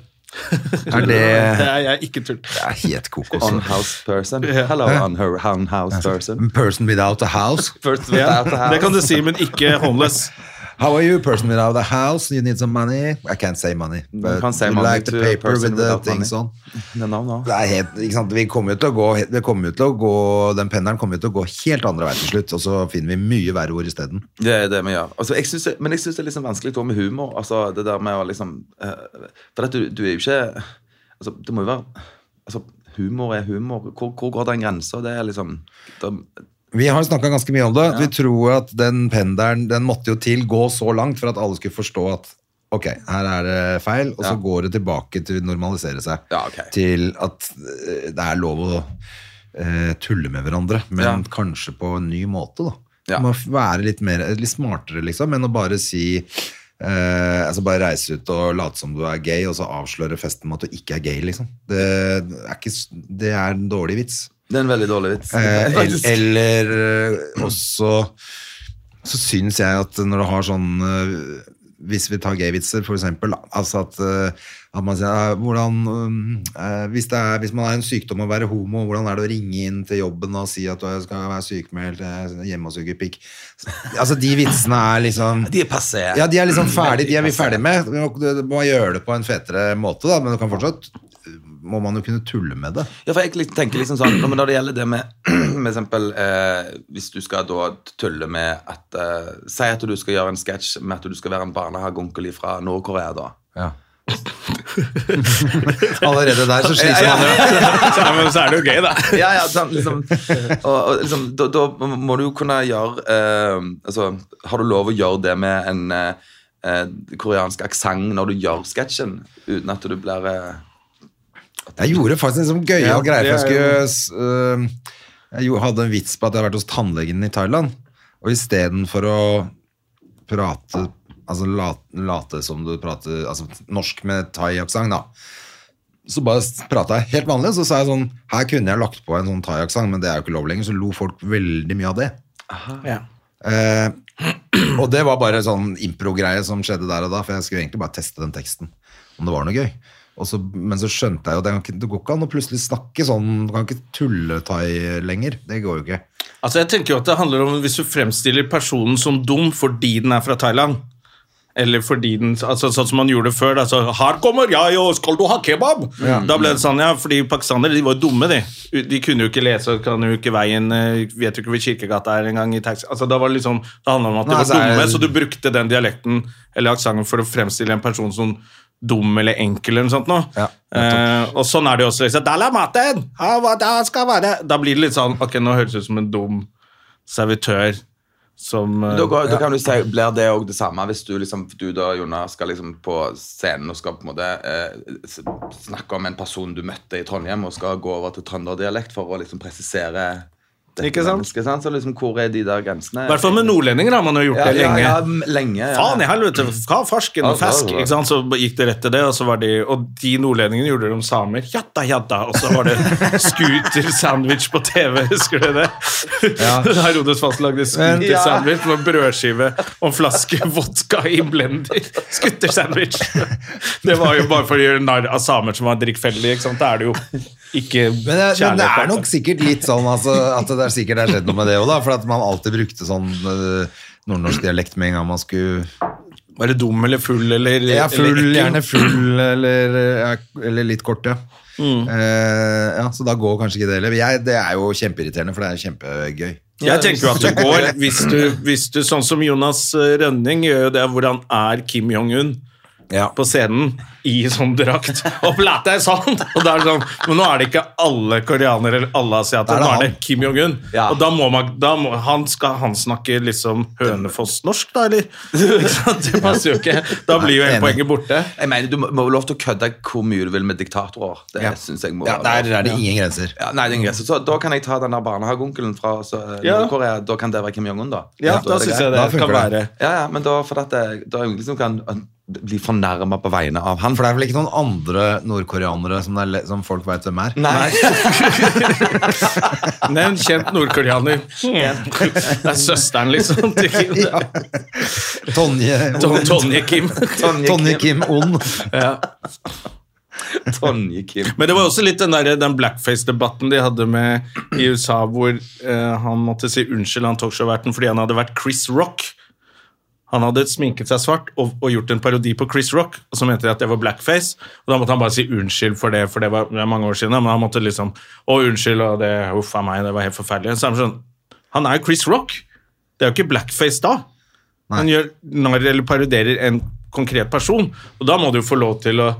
Speaker 2: Er det
Speaker 1: Det er jeg ikke tull.
Speaker 2: Det er helt kokos.
Speaker 3: Unhoused person. Hello, unho- unhoused person.
Speaker 2: Person without a house.
Speaker 3: First
Speaker 1: Ja,
Speaker 3: without a house.
Speaker 1: det kan du si, men ikke homeless.
Speaker 2: How are you, person without a house? You need some money? I can't say money. But
Speaker 3: can't say
Speaker 2: you
Speaker 3: money
Speaker 2: like the
Speaker 3: to a
Speaker 2: paper
Speaker 3: person
Speaker 2: with the
Speaker 3: without
Speaker 2: things
Speaker 3: money.
Speaker 2: on.
Speaker 3: No, no, no.
Speaker 2: Det er helt, ikke sant? Vi kommer jo til å gå, det kommer jo til å gå den pendelen kommer jo til å gå helt andre vei til slutt, og så finner vi mye verre ord isteden.
Speaker 3: Det er det vi gjør. Altså, jeg synes det, men jeg syns det er liksom vanskelig da med humor. Altså, det der med å liksom eh, For at du, du er jo ikke altså, Det må jo være altså, Humor er humor. Hvor, hvor går den grensa? Det er liksom da,
Speaker 2: Vi har snakka ganske mye om det. Vi tror at den pendelen den måtte jo til gå så langt for at alle skulle forstå at ok, her er det feil, og så
Speaker 3: Ja.
Speaker 2: går det tilbake til å normalisere seg.
Speaker 3: Ja, ok.
Speaker 2: Til at eh, det er lov å eh, tulle med hverandre, men
Speaker 3: Ja.
Speaker 2: kanskje på en ny måte, da.
Speaker 3: Ja.
Speaker 2: Man må være litt, mer, litt smartere, liksom, enn å bare si eh, altså Bare reise ut og late som du er gay, og så avsløre festen med at du ikke er gay, liksom. Det er, ikke, s- det er en dårlig vits.
Speaker 3: Det er en veldig dårlig vits.
Speaker 2: Eh, el-
Speaker 3: Faktisk.
Speaker 2: eller eh, også så syns jeg at når du har sånn eh, Hvis vi tar gayvitser, for eksempel, da, altså at, eh, at man sier eh, hvordan, mm, eh, hvis, det er, hvis man har en sykdom å være homo, hvordan er det å ringe inn til jobben og si at du skal være sykemeldt, eh, hjemme og suge pikk? Altså, de vitsene er liksom
Speaker 3: De er passé.
Speaker 2: ja, de er liksom ferdig, de er vi ferdig med. Du må- Du må gjøre det på en fetere måte, da, men du kan fortsatt må man jo kunne tulle med det.
Speaker 3: Ja, for jeg lik- tenker liksom sånn Når når det gjelder det med Med eksempel eh, Hvis du skal da tulle med at eh, Si at du skal gjøre en sketsj med at du skal være en barnehageonkel fra Nord-Korea, da.
Speaker 2: Allerede der så sliter man jo.
Speaker 1: Så, ja, men så er det jo gøy, da.
Speaker 3: Ja, ja, sånn, liksom, og, og, liksom, da, da må du jo kunne gjøre eh, altså, Har du lov å gjøre det med en eh, eh, koreansk aksent når du gjør sketsjen, uten at du blir eh,
Speaker 2: Jeg gjorde faktisk en sånn gøyal
Speaker 1: Ja,
Speaker 2: greie. for Jeg,
Speaker 1: det er
Speaker 2: skulle, s- øhm, jeg jo- hadde en vits på at jeg hadde vært hos tannlegen i Thailand. Og istedenfor å prate Altså late, late som du prater altså, norsk med thaiaksent, da. Så bare prata jeg helt vanlig, så sa jeg sånn Her kunne jeg lagt på en sånn thaiaksent, men det er jo ikke lov lenger. Så lo folk veldig mye av det.
Speaker 1: Ja.
Speaker 2: Eh, og det var bare sånn impro-greie som skjedde der og da, for jeg skulle egentlig bare teste den teksten, om det var noe gøy. Og så, men så skjønte jeg jo at det, kan ikke- det går ikke an å plutselig snakke sånn, du kan ikke tulle thai lenger. Det går jo ikke.
Speaker 1: Altså, jeg tenker jo at det handler om Hvis du fremstiller personen som dum fordi den er fra Thailand eller fordi den, altså Sånn som man gjorde det før. da, så, her kommer jeg, og skal du ha kebab? Da ble det sånn, ja, fordi Pakistanere de var jo dumme, de. De kunne jo ikke lese, kan jo ikke veien, eh, vet jo ikke hvor Kirkegata er engang. i taxi. Altså, da var det liksom, det handla om at de
Speaker 2: Nei,
Speaker 1: var
Speaker 2: så er-
Speaker 1: dumme, så du brukte den dialekten eller aksenten for å fremstille en person som dum eller enkel eller noe sånt. Nå.
Speaker 2: Ja,
Speaker 1: Eh, og sånn er det jo også. Liksom. «Der er maten! Ja, hva da skal være?» Da blir det litt sånn Ok, nå høres det ut som en dum servitør som eh,
Speaker 3: Da, går, da kan du si, blir det òg det samme hvis du, liksom, du da, Jonas, skal liksom på scenen og skal på en måte eh, s- snakke om en person du møtte i Trondheim, og skal gå over til trønderdialekt for å liksom presisere dette
Speaker 1: Ikke sant?
Speaker 3: mennesket, sant? Så liksom, hvor er de der grensene?
Speaker 1: I hvert fall med nordlendinger har man jo gjort
Speaker 3: ja,
Speaker 1: det lenge.
Speaker 3: Ja, ja, m- lenge ja.
Speaker 1: Faen i helvete, hva farsken og
Speaker 3: Ja,
Speaker 1: fesk?
Speaker 3: ja, ja.
Speaker 1: Ikke sant? Så gikk det rett til det, og, så var de, og de nordlendingene gjorde det om samer. Jadda, jadda. Og så var det scooter-sandwich på TV, husker du det?
Speaker 2: Ja.
Speaker 1: Da Rodes Fast lagde scooter-sandwich med brødskive og en flaske vodka i en blender. Scooter-sandwich. Det var jo bare for å gjøre narr av samer som var drikkfeldige, ikke sant? Da er det jo ikke
Speaker 2: Men, det- men det er
Speaker 1: kjærlighet.
Speaker 2: nok sikkert litt sånn altså, at det er sikkert har skjedd noe med det òg, da. For at man alltid brukte sånn eh, nordnorsk dialekt med en gang man skulle
Speaker 1: Være dum eller full eller
Speaker 2: Ja, full,
Speaker 1: eller ekkel.
Speaker 2: gjerne full, eller, ja, eller litt kort, ja. Eh, ja. Så da går kanskje ikke det heller. Men Jeg, det er jo kjempeirriterende, for det er kjempegøy.
Speaker 1: Jeg tenker jo at det går hvis du, hvis du Sånn som Jonas eh, Rønning gjør jo det, hvor han er Kim Jong-un
Speaker 2: Ja.
Speaker 1: på scenen i sånn drakt. Og plata er sånn! Og da er det sånn Men nå er det ikke alle koreanere eller alle
Speaker 2: Da
Speaker 1: asiater,
Speaker 2: er det
Speaker 1: nå er det
Speaker 2: han.
Speaker 1: Kim Jong-un.
Speaker 3: Ja.
Speaker 1: Og da må man da må, han, Skal han snakke liksom Hønefoss-norsk, da, eller? Ikke sant? Det passer jo ikke. Da blir jo hele
Speaker 2: Enig.
Speaker 1: poenget borte.
Speaker 3: Jeg mener, Du må må lov til å kødde hvor mye du vil med diktatorer. Det
Speaker 2: Ja.
Speaker 3: synes jeg må
Speaker 2: Ja, der er det ingen grenser.
Speaker 3: Ja, nei, det er ingen grense. Så da kan jeg ta den der barnehageonkelen fra så, eh,
Speaker 1: Ja.
Speaker 3: Nord-Korea. Da kan det være Kim Jong-un, da.
Speaker 1: Ja,
Speaker 3: er
Speaker 1: da syns jeg
Speaker 3: greit.
Speaker 1: det
Speaker 2: Da funker
Speaker 1: kan
Speaker 2: det.
Speaker 1: være
Speaker 3: Ja, ja, men da, for at det, da er jeg liksom kan eh, bli fornærma på vegne av han.
Speaker 2: For det er vel ikke noen andre nordkoreanere som, det er, le- som folk veit hvem er?
Speaker 3: Nei,
Speaker 1: Nevn kjent nordkoreaner. Det er søsteren, liksom. til Kim.
Speaker 2: Tonje,
Speaker 1: Ton- Tonje Kim.
Speaker 2: Mm. Tonje Kim On.
Speaker 1: Ja.
Speaker 3: Tonje Kim.
Speaker 1: Men det var også litt den, der- den blackface-debatten de hadde med i USA, hvor eh, han måtte si unnskyld han talkshow-verten fordi han hadde vært Chris Rock. Han hadde sminket seg svart og, og gjort en parodi på Chris Rock, og så mente de at det var blackface. Og da måtte han bare si unnskyld for det, for det var det er mange år siden. Men han måtte liksom Å, unnskyld, og det Huff a meg, det var helt forferdelig. Så er det sånn Han er jo Chris Rock. Det er jo ikke blackface da. Han gjør narr eller parodierer en konkret person, og da må du få lov til å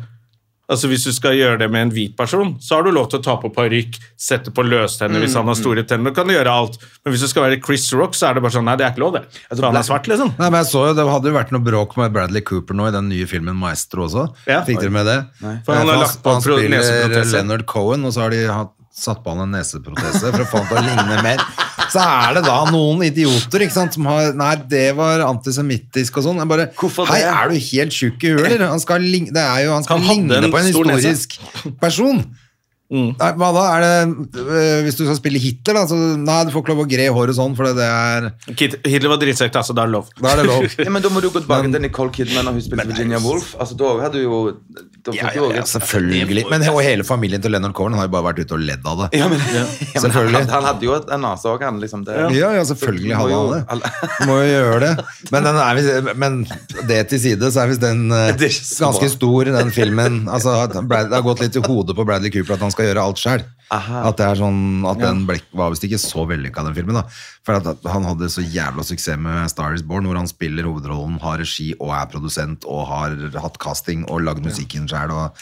Speaker 1: Altså Hvis du skal gjøre det med en hvit person, så har du lov til å ta på parykk, sette på løstenner hvis han har store tenner, da kan du gjøre alt. Men hvis du skal være Chris Rock, så er det bare sånn Nei, det er ikke lov, det. For han er svart, liksom.
Speaker 2: Nei, men jeg så jo, Det hadde jo vært noe bråk med Bradley Cooper nå i den nye filmen Maestro også.
Speaker 1: Ja.
Speaker 2: Fikk dere med det? Eh,
Speaker 1: For han har lagt på
Speaker 2: han
Speaker 1: pro-
Speaker 2: spiller
Speaker 1: neseprotese.
Speaker 2: Leonard Cohen, og så har de hatt, satt på han en neseprotese for å få han til å ligne mer. Så er det da noen idioter ikke sant, som har Nei, det var antisemittisk og sånn. Jeg bare
Speaker 3: Hvorfor
Speaker 2: Hei,
Speaker 3: det?
Speaker 2: er du helt sjuk i huet, eller? Han skal, lign- det er jo, han skal
Speaker 1: Han hadde
Speaker 2: ligne
Speaker 1: en
Speaker 2: på en
Speaker 1: stor nese. Mm.
Speaker 2: historisk person. Nei, hva da? Er det, øh, hvis du skal spille Hitler, da, så Nei, du får ikke lov å gre håret sånn, for det- det er
Speaker 1: Kid- Hitler var drittsekk, da, så da er det lov.
Speaker 2: Da er det lov.
Speaker 3: Ja, men Da må du gå tilbake til Nicole Kidman og hun spilte Virginia Woolf. Altså, da hadde du jo da
Speaker 2: Ja,
Speaker 3: fikk du
Speaker 2: ja,
Speaker 3: også-
Speaker 2: ja, selvfølgelig. Men og hele familien til Leonard Cohen har jo bare vært ute og ledd av det.
Speaker 3: Ja, men, ja, men
Speaker 2: Selvfølgelig.
Speaker 3: Han, han hadde jo et- en nase òg, han. Liksom, det.
Speaker 2: Ja, ja, selvfølgelig hadde han det.
Speaker 3: Alle-
Speaker 2: Må jo gjøre det. Men, den er visst- men det til side, så er visst den eh,
Speaker 3: Det er ikke så
Speaker 2: ganske
Speaker 3: bra.
Speaker 2: stor, den filmen. Altså, at Brad, det har gått litt i hodet på Bradley Cooper at han skal gjøre alt sjøl.
Speaker 3: Aha.
Speaker 2: At, det er sånn, at den ble, var visst ikke så vellykka, den filmen. da For at, at han hadde så jævla suksess med Star Is Born, hvor han spiller hovedrollen, har regi og er produsent og har hatt casting og lagd musikken sjøl.
Speaker 1: Og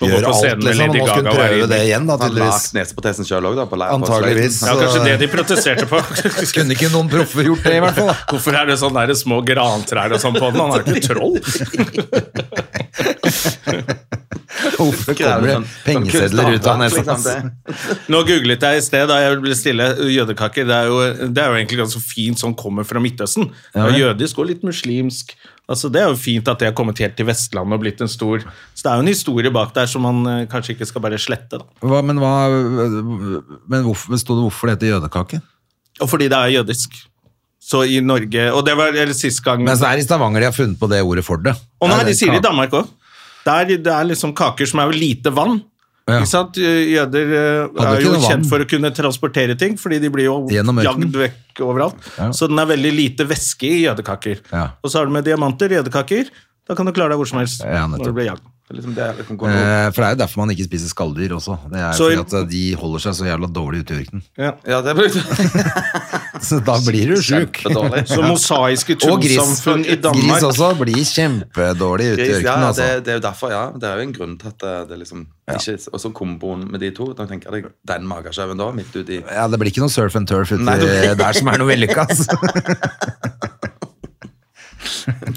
Speaker 1: gå
Speaker 2: Gjør
Speaker 1: på
Speaker 2: alt,
Speaker 1: scenen
Speaker 2: liksom. Og
Speaker 1: med Lady
Speaker 2: Nå skulle
Speaker 1: Gaga
Speaker 2: han
Speaker 1: og være
Speaker 2: prøve
Speaker 1: inne.
Speaker 2: det igjen, da,
Speaker 3: Han
Speaker 2: tydeligvis.
Speaker 3: lagt nesepotesen sjøl òg, da. På, la- på
Speaker 2: Antageligvis.
Speaker 3: sløyden.
Speaker 1: Ja,
Speaker 2: Så-
Speaker 1: kanskje det de protesterte på.
Speaker 2: Kunne ikke noen proffer gjort det, i hvert fall? da?
Speaker 1: Hvorfor er det sånn der små grantrær og sånn på den? Han er jo ikke troll.
Speaker 2: Hvorfor kommer det
Speaker 3: Sånn- sånn
Speaker 2: pengesedler ut av
Speaker 3: kunstnerhåndverk,
Speaker 2: nesa?
Speaker 3: liksom,
Speaker 2: ass?
Speaker 3: det.
Speaker 1: Nå googlet jeg i sted, da jeg ble stille, jødekaker. Det er jo, det er jo egentlig ganske fint sånn kommer fra Midtøsten. Det er jødisk og litt muslimsk. Altså, det er jo fint at det har kommet helt til Vestlandet og blitt en stor Så det er jo en historie bak der som man eh, kanskje ikke skal bare slette, da.
Speaker 2: Hva, men hva, men hvorfor, sto det hvorfor det heter jødekake?
Speaker 1: Og fordi det er jødisk. Så i Norge Og det var eller sist gang
Speaker 2: Men så er det i Stavanger de har funnet på det ordet for det.
Speaker 1: Og nei, de sier det i
Speaker 2: Kake.
Speaker 1: Danmark òg. Det, er- det er liksom kaker som er jo lite vann.
Speaker 2: Ja.
Speaker 1: Ikke sant? Jøder eh,
Speaker 2: Hadde
Speaker 1: er
Speaker 2: ikke
Speaker 1: jo
Speaker 2: noe vann.
Speaker 1: kjent for å kunne transportere ting, fordi de blir jo
Speaker 2: Gjennom ørkenen.
Speaker 1: jagd vekk overalt.
Speaker 2: Ja.
Speaker 1: Så den er veldig lite væske i jødekaker.
Speaker 2: Ja.
Speaker 1: Og så har du med diamanter, jødekaker. Da kan du klare deg hvor som helst.
Speaker 2: Ja, nettopp.
Speaker 1: når du blir jagd.
Speaker 3: Liksom det, liksom, går noe-
Speaker 2: Eh, For det er jo derfor man ikke spiser skalldyr også. Det er jo eh,
Speaker 1: Så-
Speaker 2: fordi at de holder seg så jævla dårlig ute i ørkenen.
Speaker 1: Ja.
Speaker 3: Ja, det er
Speaker 2: Så da blir du sjuk.
Speaker 3: Kjempedårlig.
Speaker 1: Så mosaiske
Speaker 2: Og gris,
Speaker 1: trossamfunn i Danmark
Speaker 2: gris også blir kjempedårlig ute i
Speaker 3: Gris, ja,
Speaker 2: ørkenen. Altså.
Speaker 3: det, det er jo derfor, ja. Det er jo en grunn til at det- det liksom ikke Og så komboen med de to. Da tenker jeg deg den magesjauen da, midt uti
Speaker 2: Ja, det blir ikke noe surf and turf uti
Speaker 3: Nei, det blir-
Speaker 2: der som er noe vellykka. Altså.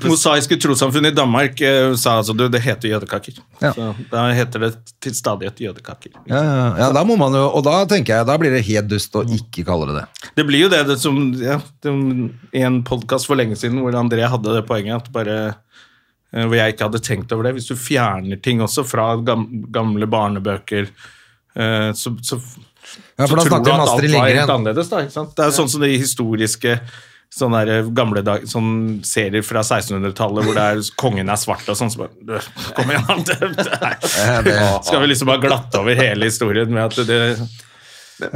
Speaker 1: Mosaiske trossamfunn i Danmark eh, sa altså du, det heter jødekaker.
Speaker 2: Ja.
Speaker 1: Så da heter det til stadighet jødekaker.
Speaker 2: Ja, ja, ja, da må man jo, og da tenker jeg, da blir det helt dust å ikke kalle det det.
Speaker 1: Det blir jo det, det som ja, det, I en podkast for lenge siden hvor André hadde det poenget at bare eh, Hvor jeg ikke hadde tenkt over det. Hvis du fjerner ting også fra gam, gamle barnebøker, eh, så, så,
Speaker 2: Ja, for
Speaker 1: så
Speaker 2: da snakker vi om
Speaker 1: alt
Speaker 2: Astrid
Speaker 1: var
Speaker 2: Lindgren.
Speaker 1: helt annerledes. Da, ikke sant? Det er jo sånn som de historiske Sånne der eh, gamle dag, sånn serier fra 1600-tallet hvor det er kongen er svart og sånn. Så bare, du, kom igjen, det, det er
Speaker 2: Ja, Eh, det
Speaker 1: Skal vi liksom bare glatte over hele historien med at det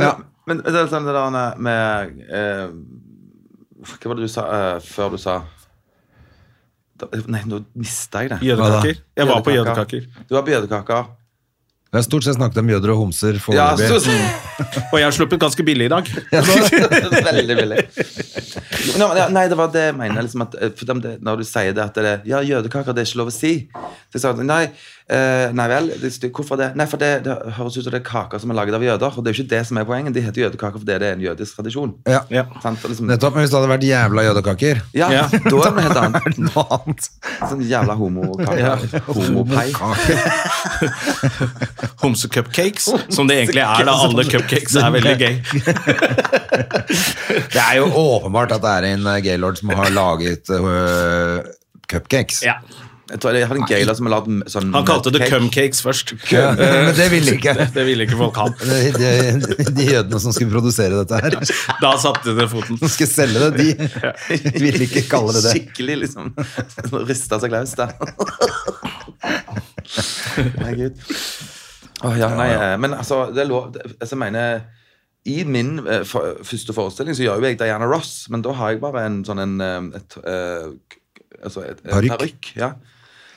Speaker 3: Men, men det er sånn det der med- med eh, Hva var det du sa eh, før du sa da, Nei, nå mista jeg det.
Speaker 1: Jødekaker? Jeg var på jødekaker.
Speaker 3: Du var på jødekaker.
Speaker 2: Vi har stort sett snakket om jøder og homser
Speaker 3: Ja,
Speaker 2: foreløpig.
Speaker 3: så,
Speaker 1: Og jeg har sluppet ganske billig i dag.
Speaker 3: Veldig billig. Nå, men ja, nei, det var det jeg mener. Liksom at, eh, for dem det, når du sier det at det er Ja, jødekaker, det er ikke lov å si. Så jeg sa nei, eh, nei vel, det, det- hvorfor det? Nei, for det, det høres ut som det er kaker som er laget av jøder. Og det er jo ikke det som er poenget. De heter jødekaker fordi det er en jødisk tradisjon.
Speaker 2: Ja.
Speaker 1: Ja.
Speaker 3: Sant? Og liksom,
Speaker 2: Nettopp, men hvis det hadde vært jævla jødekaker
Speaker 3: ja,
Speaker 1: Ja.
Speaker 3: da er det helt annet.
Speaker 2: Noe annet.
Speaker 3: Sånn jævla homokaker. Homopai.
Speaker 1: Homsecupcakes, som det egentlig er. da Alle cupcakes er veldig gøy.
Speaker 2: Det er jo åpenbart at det er en eh, gaylord som har laget øh, cupcakes.
Speaker 1: Ja.
Speaker 3: Jeg tror jeg har en gayler som har lagd m- sånn
Speaker 1: Han kalte det
Speaker 3: cake.
Speaker 1: cumcakes først.
Speaker 2: Ja, Eh, Men det ville ikke
Speaker 1: Det, det ville ikke folk ha.
Speaker 2: de, de, de jødene som skulle produsere dette her, som
Speaker 1: Da satte det foten.
Speaker 2: skulle selge det, de ville ikke kalle det det.
Speaker 3: Skikkelig liksom Rista seg løs der. Herregud. Åh, ja, nei, eh, men altså, det er lov det- altså, Jeg mener I min eh, for, første forestilling så gjør jo jeg Diana Ross, men da har jeg bare en sånn en eh, et, eh, k- altså et, et
Speaker 2: Parykk.
Speaker 3: parykk. Ja.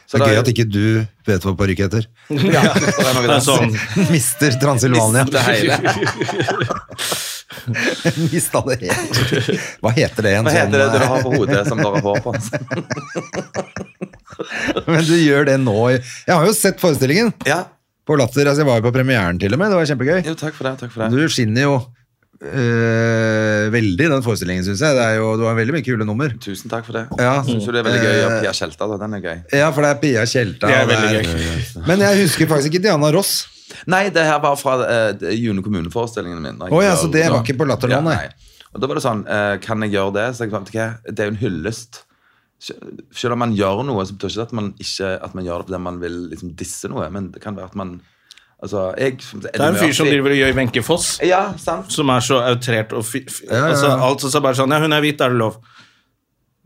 Speaker 3: Så
Speaker 2: Det er
Speaker 3: da-
Speaker 2: gøy at ikke du vet hva parykk heter.
Speaker 3: ja, det er noe
Speaker 1: Det er
Speaker 3: der.
Speaker 1: sånn,
Speaker 2: Mister Transilvania.
Speaker 3: Det hele.
Speaker 2: Mista det helt. Hva heter det igjen?
Speaker 3: Hva heter det
Speaker 2: Sånn,
Speaker 3: du har på hodet som dere har hår på?
Speaker 2: Men du gjør det nå. i- Jeg har jo sett forestillingen
Speaker 3: Ja,
Speaker 2: på Latter. Altså, jeg var jo på premieren til og med. Det var kjempegøy.
Speaker 3: jo, takk for det. takk for det.
Speaker 2: Du skinner jo øh, veldig i den forestillingen, syns jeg. Det er jo, du har veldig mye kule nummer.
Speaker 3: Tusen takk for det.
Speaker 2: Ja. Eh,
Speaker 3: Syns jo det er veldig gøy å gjøre Pia Kjelta, da. Den er gøy.
Speaker 2: Ja, for det er Pia Tjelta.
Speaker 1: Det er
Speaker 2: og
Speaker 1: veldig
Speaker 2: er- Men jeg husker faktisk ikke Diana Ross.
Speaker 3: Nei, det her var fra eh, det- June kommune-forestillingen min.
Speaker 2: Å ja, så det var ikke på Latterland, nei.
Speaker 3: sånn. Og da var det sånn eh, Kan jeg gjøre det? Så jeg fant ikke Det er jo en hyllest. Sel- Selv om man gjør noe, så betyr ikke det at man, ikke, at man gjør det fordi man vil liksom disse noe. Men det kan være at man Altså, jeg Det
Speaker 1: det er en fyr som driver og gjør Wenche Foss,
Speaker 3: Ja, sant.
Speaker 1: som er så outrert og fi, fi,
Speaker 2: ja, ja.
Speaker 1: altså, alt som er bare sånn Ja, hun er hvit, er det lov?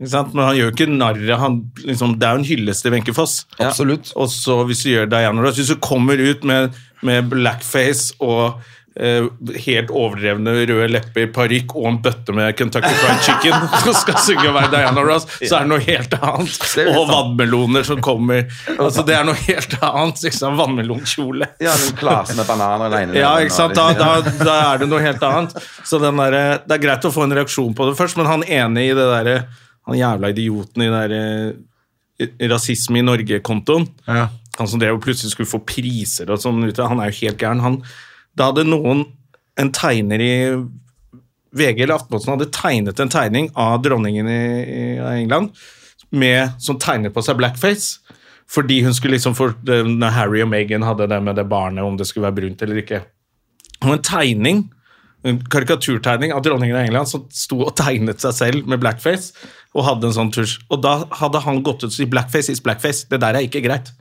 Speaker 1: Ikke sant? Men han gjør jo ikke narr av han, liksom, Det er jo en hyllest til Wenche Foss.
Speaker 2: Absolutt.
Speaker 1: Og så hvis du gjør Diana Ross Hvis du kommer ut med, med blackface og eh, helt overdrevne røde lepper, parykk og en bøtte med Kentucky Fried Chicken og skal synge og være Diana Ross, så er det noe helt annet.
Speaker 3: Det er jo
Speaker 1: Og vannmeloner som kommer. Altså, det er noe helt annet. Liksom, vannmelonkjole.
Speaker 3: Ja, en klase med bananer i den ene
Speaker 1: Ja,
Speaker 3: enden,
Speaker 1: ikke sant? Da,
Speaker 3: og-
Speaker 1: da, da er det noe helt annet. Så den derre- det er greit å få en reaksjon på det først, men han enig i det derre Han jævla idioten i det derre rasisme i Norge-kontoen.
Speaker 2: Ja.
Speaker 1: Han som drev og plutselig skulle få priser og sånn ute, han er jo helt gæren. Han, da hadde noen, en tegner i VG eller Aftenposten, hadde tegnet en tegning av dronningen i, i av England med, som tegnet på seg blackface. Fordi hun skulle liksom for, det- når Harry og Meghan hadde det med det barnet, om det skulle være brunt eller ikke. Og en tegning, en karikaturtegning av dronningen av England som sto og tegnet seg selv med blackface, og hadde en sånn tusj. Og da hadde han gått ut og sagt 'blackface is blackface'. Det der er ikke greit.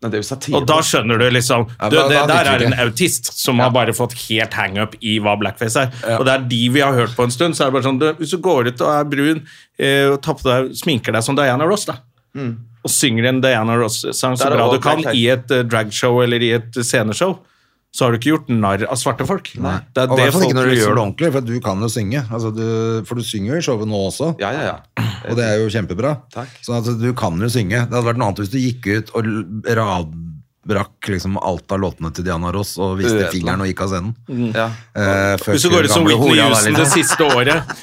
Speaker 3: Nei, Det er jo satire.
Speaker 1: Og da skjønner du liksom
Speaker 2: Ja,
Speaker 1: du,
Speaker 2: da-
Speaker 1: Det
Speaker 2: da
Speaker 1: der
Speaker 2: virker
Speaker 1: er en
Speaker 2: det.
Speaker 1: autist som har bare fått helt hangup i hva blackface er. Og det er de vi har hørt på en stund. Så er det bare sånn du, Hvis du går ut og er brun eh, og tar på deg, sminker deg som Diana Ross, da.
Speaker 2: Mm.
Speaker 1: Og synger en Diana Ross-sang
Speaker 3: Da
Speaker 1: så
Speaker 3: er det
Speaker 1: bra du
Speaker 3: all
Speaker 1: kan
Speaker 3: blackface.
Speaker 1: i et eh, dragshow eller i et eh, sceneshow, så har du ikke gjort narr av svarte folk. Det er
Speaker 2: Og i
Speaker 1: det
Speaker 2: hvert fall
Speaker 1: folk
Speaker 2: ikke når du
Speaker 1: liksom-
Speaker 2: gjør det ordentlig, for du kan jo synge. Altså, du, for du synger jo i showet nå også,
Speaker 3: Ja, ja, ja.
Speaker 2: og det er jo kjempebra.
Speaker 3: Takk.
Speaker 2: Sånn at du kan jo synge. Det hadde vært noe annet hvis du gikk ut og l- rad brakk liksom alt av låtene til Diana Ross og viste
Speaker 3: Ødela. Mm.
Speaker 2: fingeren og gikk av scenen.
Speaker 3: Ja.
Speaker 2: Eh, før
Speaker 1: Hvis du går ut som
Speaker 2: gamle liksom.
Speaker 1: Whitney
Speaker 2: hora var
Speaker 1: Houston
Speaker 2: litt-
Speaker 1: det siste året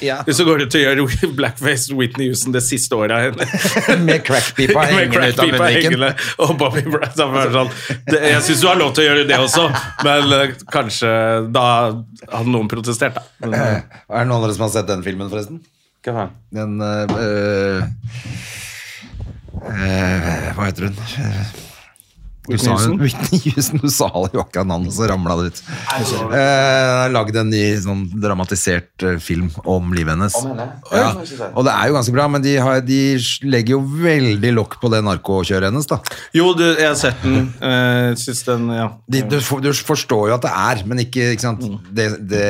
Speaker 2: Ja.
Speaker 1: Hvis du går ut og gjør blackface Whitney Houston det siste året av henne
Speaker 2: Med crackpipa
Speaker 1: Med
Speaker 2: hengende ut av
Speaker 1: crackpipa
Speaker 2: munnviken.
Speaker 1: hengende og Bobby Brown som er sånn det, Jeg syns du har lov til å gjøre det også, men eh, kanskje da hadde noen protestert, da.
Speaker 2: Eh, Er det noen andre som har sett den filmen, forresten?
Speaker 3: Hva faen?
Speaker 2: Den eh, eh, Hva heter hun? Eh, Du sa jo Whitney Houston. Du sa jo akkurat navnet, så ramla det ut. Eh, Lagd en ny sånn dramatisert eh, film om livet hennes.
Speaker 3: Om henne?
Speaker 2: Ja.
Speaker 3: Oi, så søt.
Speaker 2: Og det er jo ganske bra, men de, har, de legger jo veldig lokk på det narkokjøret hennes, da.
Speaker 1: Jo, du, jeg har sett den. eh, syns den ja.
Speaker 2: De, du, for- du forstår jo at det er, men ikke, ikke sant?
Speaker 3: Mm.
Speaker 2: Det, det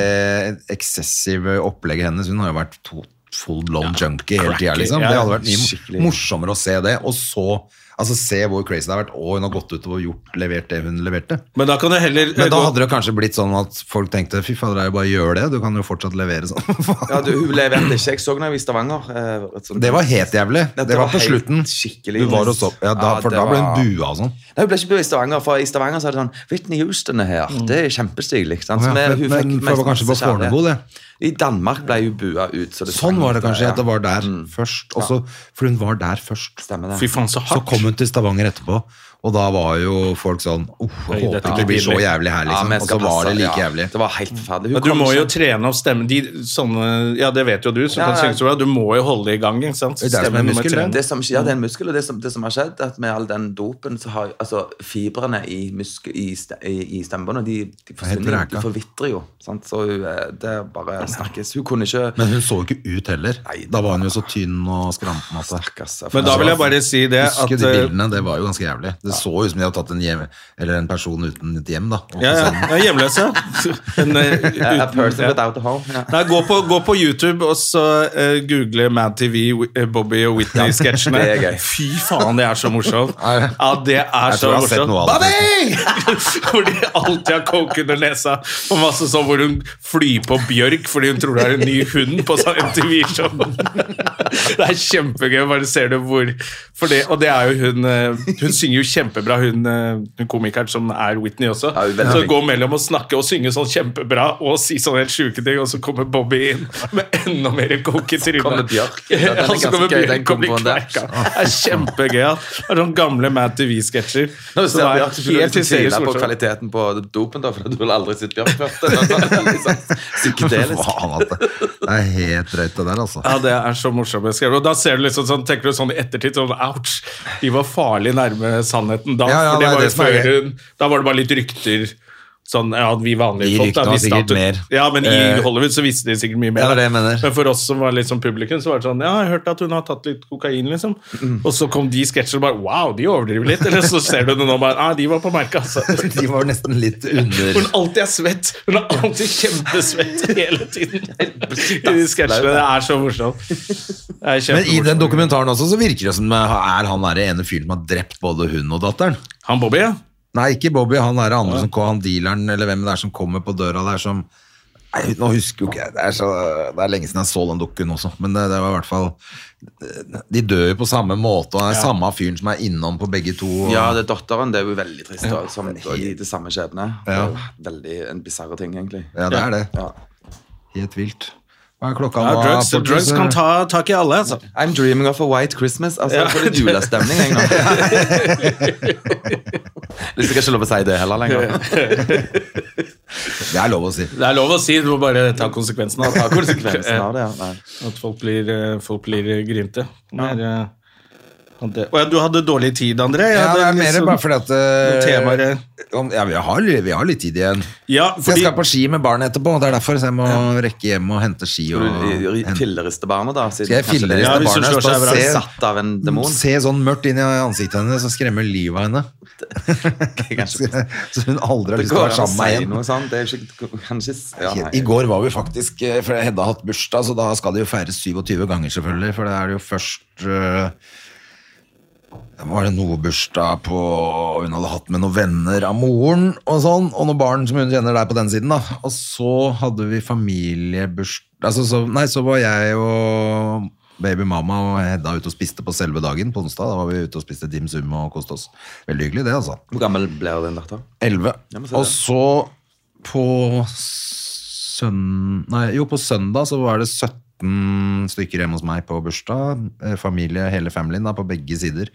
Speaker 2: eksessive opplegget hennes Hun har jo vært to, full blown junkie hele tida,
Speaker 1: cracky,
Speaker 2: liksom.
Speaker 1: ja,
Speaker 2: Det hadde vært
Speaker 1: skikkelig.
Speaker 2: mye morsommere å se det, og så altså, se hvor crazy det har vært, og hun har gått ut og gjort, levert det hun leverte.
Speaker 1: Men da kan du heller eh,
Speaker 2: Men da hadde det kanskje blitt sånn at folk tenkte fy fader, det er jo bare å gjøre det, du kan jo fortsatt levere sånn.
Speaker 3: Ja, du, hun lever ennå ikke. Jeg så henne i Stavanger. eh, et sånt-
Speaker 2: Det var helt jævlig.
Speaker 3: Ja,
Speaker 2: Det var på
Speaker 3: helt
Speaker 2: slutten.
Speaker 3: Skikkelig.
Speaker 2: Du var og så, ja, da,
Speaker 3: Ja,
Speaker 2: for
Speaker 3: det
Speaker 2: da ble
Speaker 3: var-
Speaker 2: hun bua og sånn.
Speaker 3: Nei, hun ble ikke bua i Stavanger, for i Stavanger så er det sånn Whitney Houston er her. Det er kjempestilig. sant? Så
Speaker 2: Mm. Å ja,
Speaker 3: vi-
Speaker 2: men-
Speaker 3: Altså,
Speaker 2: men
Speaker 3: hun fikk
Speaker 2: for det var
Speaker 3: mest
Speaker 2: kanskje på
Speaker 3: masse kjærlighet.
Speaker 2: Fornebu, det.
Speaker 3: I Danmark ble hun bua ut. så
Speaker 2: Sånn
Speaker 3: sang
Speaker 2: var det
Speaker 3: litt,
Speaker 2: kanskje,
Speaker 3: ja. Mm.
Speaker 2: at det var der først. Og så- for hun var der først.
Speaker 3: Stemmer det.
Speaker 1: Fy faen, så
Speaker 2: Så
Speaker 1: hardt.
Speaker 2: kom hun til Stavanger etterpå, og da var jo folk sånn Uff, jeg
Speaker 1: Oi,
Speaker 2: håper
Speaker 1: dette
Speaker 2: ikke det
Speaker 1: blir
Speaker 2: blir så
Speaker 1: pinlig.
Speaker 2: jævlig her,
Speaker 3: Ja,
Speaker 2: liksom.
Speaker 3: men jeg
Speaker 2: og
Speaker 3: skal
Speaker 2: så var
Speaker 3: passe-
Speaker 2: det like
Speaker 3: ja,
Speaker 2: jævlig.
Speaker 3: Det var helt forferdelig. Hun
Speaker 1: Ja, du
Speaker 3: kom
Speaker 1: må jo
Speaker 3: ikke-
Speaker 1: trene opp stemmen. De, sånne, ja, det vet jo du, som
Speaker 3: Ja,
Speaker 1: kan
Speaker 3: ja.
Speaker 1: synge så bra. Du må jo holde det i gang. Ikke sant?
Speaker 2: Det Mm. er som en
Speaker 1: Stemmen må
Speaker 2: muskel,
Speaker 1: trene.
Speaker 3: det som, ja, det er en muskel, og det som, det som har skjedd, at med all den dopen, så har altså, fibrene i, muske, i, ste- i, i stemmebåndet, de, de forsvinner,
Speaker 2: vraka.
Speaker 3: jo, de forvitrer jo. Sant? Så hun, eh, det bare snakkes. Hun kunne ikke
Speaker 2: Men hun så jo ikke ut heller. Da var hun jo så tynn og skranten. at det-
Speaker 3: Stakkars.
Speaker 1: Men da vil jeg bare si det at
Speaker 2: Husker de
Speaker 1: eh,
Speaker 2: bildene, det var jo ganske jævlig. Det så ut som de hadde tatt en, hjem, eller en person uten et hjem, da. Og
Speaker 1: ja, ja,
Speaker 2: sånn.
Speaker 1: ja, hjemløs, ja. En, eh,
Speaker 3: A
Speaker 1: uten-
Speaker 3: person
Speaker 1: ja.
Speaker 3: without a home. Ja.
Speaker 1: Nei, gå på, gå på YouTube og så eh, google Mad TV, Wh- eh, Bobby og Whitney-sketsjene.
Speaker 3: det er gøy.
Speaker 1: Fy faen, det er så morsomt.
Speaker 2: Nei.
Speaker 1: Ja, det er
Speaker 2: Jeg
Speaker 1: så
Speaker 2: tror jeg har sett
Speaker 1: morsomt.
Speaker 2: noe av det.
Speaker 1: Bobby! Hvor de alltid har coke under nesa, og masse sånn hvor hun flyr på bjørk fordi hun tror det er en ny hund på sånn MTV-show. Det er kjempegøy. Bare ser du hvor for det, Og det er jo hun eh, Hun synger jo kjempebra, hun, eh, hun komikeren som er Whitney også.
Speaker 3: Ja, hun er veldig
Speaker 1: så
Speaker 3: flink.
Speaker 1: gå mellom å snakke og synge sånn kjempebra og si sånne helt sjuke ting, og så kommer Bobby inn med enda mer coke i trynet.
Speaker 3: kommer Bjørk. Ja,
Speaker 1: Ja,
Speaker 3: den er
Speaker 1: så
Speaker 3: ganske
Speaker 1: kommer
Speaker 3: gøy, den
Speaker 1: Bjørk og blir
Speaker 3: komboen der.
Speaker 1: kverka. Det er kjempegøy. ja. Det er sånne gamle Mad TV-sketsjer.
Speaker 3: Nå
Speaker 1: Så
Speaker 3: ser
Speaker 1: det er
Speaker 3: Bjørk, så burde du
Speaker 1: helt
Speaker 3: liksom tvile
Speaker 1: hysterisk
Speaker 3: på
Speaker 1: morsomt.
Speaker 3: kvaliteten på dopen, da, for du har aldri sett Bjørk før. Det er sånn, liksom, Psykedelisk.
Speaker 2: Faen, at det det er helt drøyt, det der, altså.
Speaker 1: Ja, det er så morsomt beskrevet. Og da ser du liksom sånn, tenker du sånn i ettertid sånn, ouch, de var farlig nærme sannheten da.
Speaker 2: Ja, ja,
Speaker 1: for
Speaker 2: nei,
Speaker 1: det var jo
Speaker 2: det som er
Speaker 1: før hun, da var det bare litt rykter, sånn, ja, vi
Speaker 2: De
Speaker 1: vanlige folk da.
Speaker 2: ryktene var
Speaker 1: visste at
Speaker 2: sikkert
Speaker 1: du-
Speaker 2: mer.
Speaker 1: Ja, men
Speaker 2: Eh,
Speaker 1: i Hollywood så visste de sikkert mye mer.
Speaker 2: Ja, det er
Speaker 1: da.
Speaker 2: det jeg mener.
Speaker 1: Men for oss som var litt sånn publikum, så var det sånn, ja, jeg hørte at hun har tatt litt kokain, liksom.
Speaker 2: Mm.
Speaker 1: Og så kom de sketsjer og bare, wow, de overdriver litt. Eller så ser du det nå og bare, ah, de var på merket, altså.
Speaker 2: De var nesten litt
Speaker 1: Hun
Speaker 2: under
Speaker 1: alltid er svett. Hun er alltid kjempesvett hele tiden. I de sketsjene. Det er så morsomt. Det er
Speaker 2: Men i den
Speaker 1: kjempemorsomt.
Speaker 2: dokumentaren også, så virker det som eh, er han der ene fyren som har drept både hun og datteren.
Speaker 1: Han Bobby, ja.
Speaker 2: Nei, ikke Bobby, han er det andre som han dealeren, eller hvem det er som kommer på døra der som Nei, nå husker jo ikke jeg. Det er, så, det er lenge siden jeg så den dukken også, men det, det var i hvert fall De dør jo på samme måte, og det er samme fyren som er innom på begge to. Og,
Speaker 3: Ja, det er datteren. Det er jo veldig trist. Da, som går i det samme skjebne. Det
Speaker 2: Ja.
Speaker 3: er jo Veldig en bisarre ting, egentlig.
Speaker 2: Ja, det er det.
Speaker 3: Ja.
Speaker 2: Helt vilt. Hva er klokka
Speaker 1: ja
Speaker 2: nå?
Speaker 1: drugs,
Speaker 2: Portis?
Speaker 1: drugs kan ta tak i alle, altså.
Speaker 3: I'm dreaming of a white Christmas. Altså,
Speaker 1: Ja.
Speaker 3: Jeg får litt julestemning. Jeg, nå. Liksom, jeg har ikke lov å si det heller lenger.
Speaker 2: Det er lov å si.
Speaker 1: Det er lov å si, du må bare ta konsekvensen av
Speaker 3: Ta konsekvensen av det. Ja. Nei.
Speaker 1: At folk blir, eh, folk blir eh, grinte. Mer, eh, at det- Å ja, du hadde dårlig tid, André. Jeg
Speaker 2: Ja, det
Speaker 1: hadde
Speaker 2: er mer
Speaker 1: liksom-
Speaker 2: bare fordi at
Speaker 1: temaer
Speaker 2: eh,
Speaker 1: er-
Speaker 2: om- ja, vi, har, vi har litt tid igjen.
Speaker 1: Ja,
Speaker 2: Så
Speaker 1: fordi
Speaker 2: jeg skal på ski med barnet etterpå, og det er derfor så jeg må rekke hjem og hente ski.
Speaker 3: Skal
Speaker 2: Og,
Speaker 3: du ri-
Speaker 2: hente-
Speaker 3: filleriste barnet, da? Siden
Speaker 2: Skal jeg
Speaker 3: kanskje
Speaker 2: filleriste
Speaker 1: Ja, hvis hun
Speaker 2: barnet?
Speaker 1: slår seg
Speaker 2: Skal
Speaker 1: i
Speaker 3: det
Speaker 2: se-
Speaker 3: er satt av en demon?
Speaker 2: Se sånn mørkt inn i ansiktet hennes og skremme livet av henne.
Speaker 3: Kanskje-
Speaker 2: Så hun aldri har
Speaker 3: Det
Speaker 2: lyst til å
Speaker 3: går
Speaker 2: være
Speaker 3: an å
Speaker 2: sammen
Speaker 3: si
Speaker 2: med meg
Speaker 3: noe sånt. Det er jo ikke Kanskje ja,
Speaker 2: igjen. I
Speaker 3: nei.
Speaker 2: går var vi faktisk eh, For Hedda har hatt bursdag, så da skal det jo feires 27 ganger, selvfølgelig. For det er det jo først eh, Var det noe bursdag på hun hadde hatt med noen venner av moren og sånn, og noen barn som hun kjenner der på den siden, da. Og så hadde vi familiebursdag altså, så, Nei, så var jeg og baby mamma og Hedda ute og spiste på selve dagen på onsdag. Da var vi ute og spiste dim sum og koste oss. Veldig hyggelig, det, altså.
Speaker 3: Hvor gammel ble den datteren?
Speaker 2: 11.
Speaker 3: Ja, men så det.
Speaker 2: Og så på søn... Nei, jo, på søndag så var det 17 stykker hjemme hos meg på bursdag. Eh, Familie, hele familien da, på begge sider.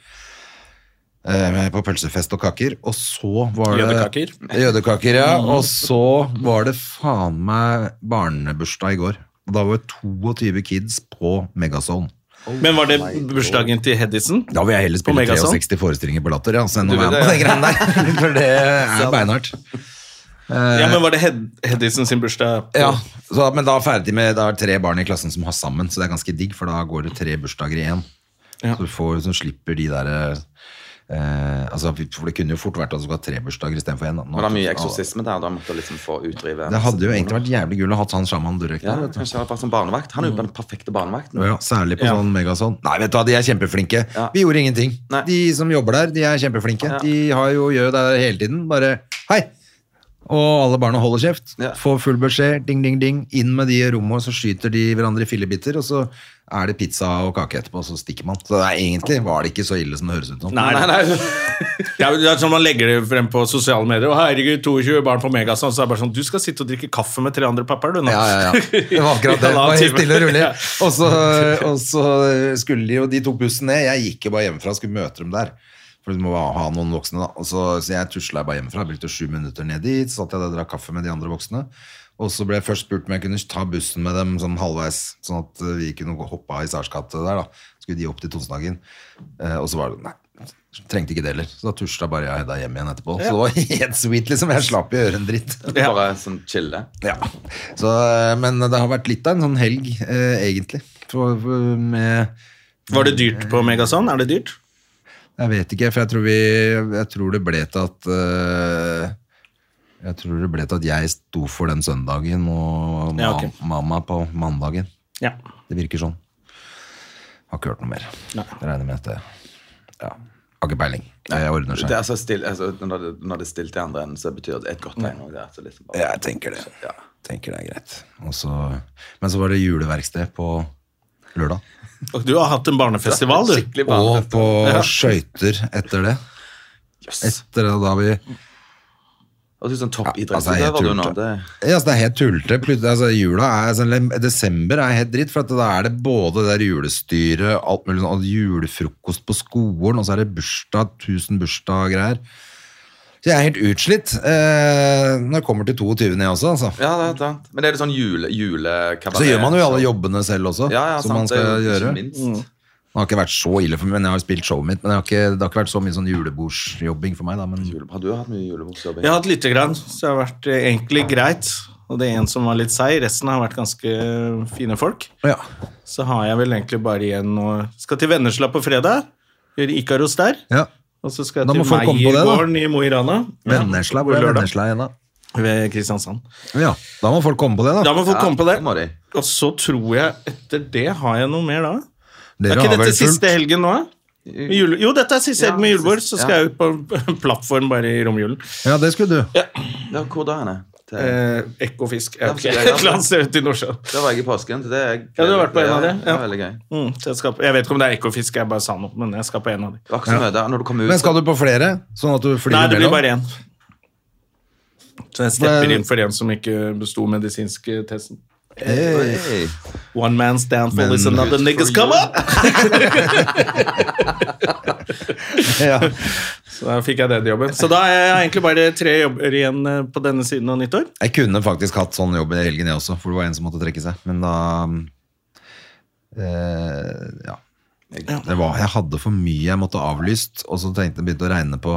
Speaker 2: Eh, På pølsefest og kaker. Og så var det
Speaker 4: Jødekaker.
Speaker 2: Jødekaker, ja. Og så var det faen meg barnebursdag i går. Og da var det 22 kids på Megazone.
Speaker 1: Men var det
Speaker 2: Oh
Speaker 1: bursdagen til Hedison?
Speaker 2: Da vil jeg heller spille
Speaker 1: Megazone?
Speaker 2: 63 forestillinger på latter, ja. Så enn å
Speaker 3: Du vil
Speaker 2: være med på den
Speaker 3: det,
Speaker 2: greien der. For det er beinhardt.
Speaker 1: Ja, men var det Hed Hedison sin bursdag? på-
Speaker 2: Ja, så, men da er ferdig med Da er det tre barn i klassen som har sammen, så det er ganske digg, for da går det tre bursdager i én.
Speaker 1: Ja.
Speaker 2: Så du får, så slipper de der eh, altså, For det kunne jo fort vært at du skulle ha tre bursdager istedenfor én. da. Nå-
Speaker 3: Var det mye eksorsisme der? Da måtte du liksom få utdrive
Speaker 2: Det hadde jo egentlig vært jævlig gull å ha han sjaman Durek
Speaker 3: Ja,
Speaker 2: der. vet du.
Speaker 3: kanskje bare som barnevakt. Han er jo den perfekte barnevakten.
Speaker 2: Ja, særlig på
Speaker 1: Ja.
Speaker 2: sånn megason. Nei, vet du hva, de er kjempeflinke.
Speaker 3: Ja.
Speaker 2: Vi gjorde ingenting.
Speaker 3: Nei.
Speaker 2: De som jobber der, de er kjempeflinke.
Speaker 3: Ja.
Speaker 2: De har jo gjør det hele tiden. Bare hei! Og alle barna holder kjeft.
Speaker 3: Ja.
Speaker 2: Får full beskjed. Ding, ding, ding. Inn med de i rommet, og så skyter de hverandre i fillebiter. Og så er det pizza og kake etterpå, og så stikker man. Så det er egentlig var det ikke så ille som det høres ut som.
Speaker 1: Nei, nei, nei. Ja, men det er sånn man legger det frem på sosiale medier. Og herregud, 22 barn på Megason, så er det bare sånn Du skal sitte og drikke kaffe med tre andre pappaer, du nå.
Speaker 2: Ja, ja, ja. Det var akkurat det. Det
Speaker 1: Ja, da,
Speaker 2: var helt
Speaker 1: typen.
Speaker 2: stille og rolig.
Speaker 1: Ja.
Speaker 2: Og så, og så skulle de jo De tok bussen ned. Jeg gikk jo bare hjemmefra og skulle møte dem der. For du må ha noen voksne, da. Og så, så jeg tusla bare hjemmefra. Brukte sju minutter ned dit. Så satt jeg der og drakk kaffe med de andre voksne. Og så ble jeg først spurt om jeg kunne ta bussen med dem sånn halvveis, sånn at vi kunne gå- hoppe av i Sarsgata der, da. Skulle de opp til Tonsenhagen. Eh, og så var det Nei. Trengte ikke det heller. Så da tusla bare jeg og Hedda hjem igjen etterpå. Så det var helt sweet, liksom. Jeg slapp jo å gjøre en dritt.
Speaker 3: Bare sånn chille.
Speaker 2: Ja, så, eh, men det har vært litt av en sånn helg, eh, egentlig. For, for, med,
Speaker 1: Var det dyrt på Megason? Er det dyrt?
Speaker 2: jeg vet ikke, for jeg tror, vi, jeg tror det ble til at eh, Jeg tror det ble til at jeg sto for den søndagen, og ma
Speaker 1: Ja, ok.
Speaker 2: mamma på mandagen.
Speaker 1: Ja.
Speaker 2: Det virker sånn. Har ikke hørt noe mer. Jeg regner med at det Ja, har ikke peiling. Det ordner seg.
Speaker 3: Det er så still, altså, når, det, når det er stilt i andre enden, så betyr det et godt tegn. også, det, altså, liksom bare-
Speaker 2: Jeg tenker det. Tenker det er greit. Og så- men så var det juleverksted på lørdag.
Speaker 1: Og du har hatt en barnefestival, du.
Speaker 3: Skikkelig
Speaker 2: Og
Speaker 3: barnevakt.
Speaker 2: på skøyter etter det.
Speaker 3: Yes.
Speaker 2: Etter det da vi
Speaker 3: Og du er sånn
Speaker 2: altså, jeg altså, er
Speaker 3: toppidrettsutøver du nå.
Speaker 2: tullete.
Speaker 3: Det,
Speaker 2: altså, sånn, Eh,
Speaker 3: ja, det er sant. Men det er det sånn jule, julekabaret.
Speaker 2: altså. Så gjør man jo alle jobbene selv også,
Speaker 3: ja, ja,
Speaker 2: som man
Speaker 3: sant, det er
Speaker 2: skal
Speaker 3: jo ikke
Speaker 2: gjøre. Mm.
Speaker 3: minst.
Speaker 2: Det har ikke vært så ille for meg, men jeg har spilt showet mitt, men jeg har ikke, det har ikke vært så mye sånn julebordsjobbing for meg da, men
Speaker 3: Jule- Har du hatt mye julebordsjobbing?
Speaker 1: Jeg har hatt lite grann, så det har vært eh, egentlig greit. Og det er en som var litt seig. Resten har vært ganske eh, fine folk.
Speaker 2: ja.
Speaker 1: Så har jeg vel egentlig bare igjen å Skal til Vennesla på fredag. Gjøre Ikaros der.
Speaker 2: Ja.
Speaker 1: Og så skal
Speaker 2: Da
Speaker 1: jeg
Speaker 2: må
Speaker 1: til
Speaker 2: folk komme på det, da.
Speaker 1: Meiergården i Mo i Rana. Ja,
Speaker 2: Vennesla, hvor
Speaker 1: på
Speaker 2: er
Speaker 1: lørdag,
Speaker 2: Vennesla igjen da?
Speaker 1: Ved Kristiansand.
Speaker 2: Ja, da må folk komme på det da.
Speaker 1: Da må folk komme på det.
Speaker 3: må de.
Speaker 1: Og så tror jeg Etter det har jeg noe mer da.
Speaker 2: Dere
Speaker 1: er ikke
Speaker 2: har vel
Speaker 1: dette
Speaker 2: fullt-
Speaker 1: siste helgen nå? da? Med Jule... Jo, dette er siste
Speaker 3: Ja,
Speaker 1: helgen med julebord, så
Speaker 3: siste-
Speaker 1: skal jeg ut på en plattform bare i romjulen.
Speaker 2: Ja, det skulle du.
Speaker 3: Ja, hvor da henne? Til,
Speaker 1: Eh, Ekofisk. Ja,
Speaker 3: Ja,
Speaker 1: ok.
Speaker 3: så det er
Speaker 1: Et eller annet sted ute i Nordsjøen.
Speaker 3: Da var jeg i påsken. Det er
Speaker 1: Ja, du har vært på en av de,
Speaker 3: Det
Speaker 1: ja.
Speaker 3: er veldig gøy. Det
Speaker 1: Mm, så jeg, skal på, jeg vet ikke om det er ekofisk, jeg bare sa noe, men jeg skal på en av de.
Speaker 3: var ikke så mye der. Når du kom ut
Speaker 2: Men skal du på flere? Sånn at du flyr
Speaker 1: Nei, det blir
Speaker 2: imellom?
Speaker 1: bare én. Så jeg stepper
Speaker 2: Men-
Speaker 1: inn for en som ikke besto medisinske testen.
Speaker 3: Hey.
Speaker 1: One man's downfall
Speaker 2: Men-
Speaker 1: is another niggas come up!
Speaker 2: Ja.
Speaker 1: Så da fikk jeg den jobben. Så da er jeg egentlig bare tre jobber igjen eh, på denne siden av nyttår.
Speaker 2: Jeg kunne faktisk hatt sånn jobb i helgen jeg også, for det var en som måtte trekke seg. Men da eh, Ja. Det var, jeg hadde for mye jeg måtte avlyst, og så tenkte jeg begynte å regne på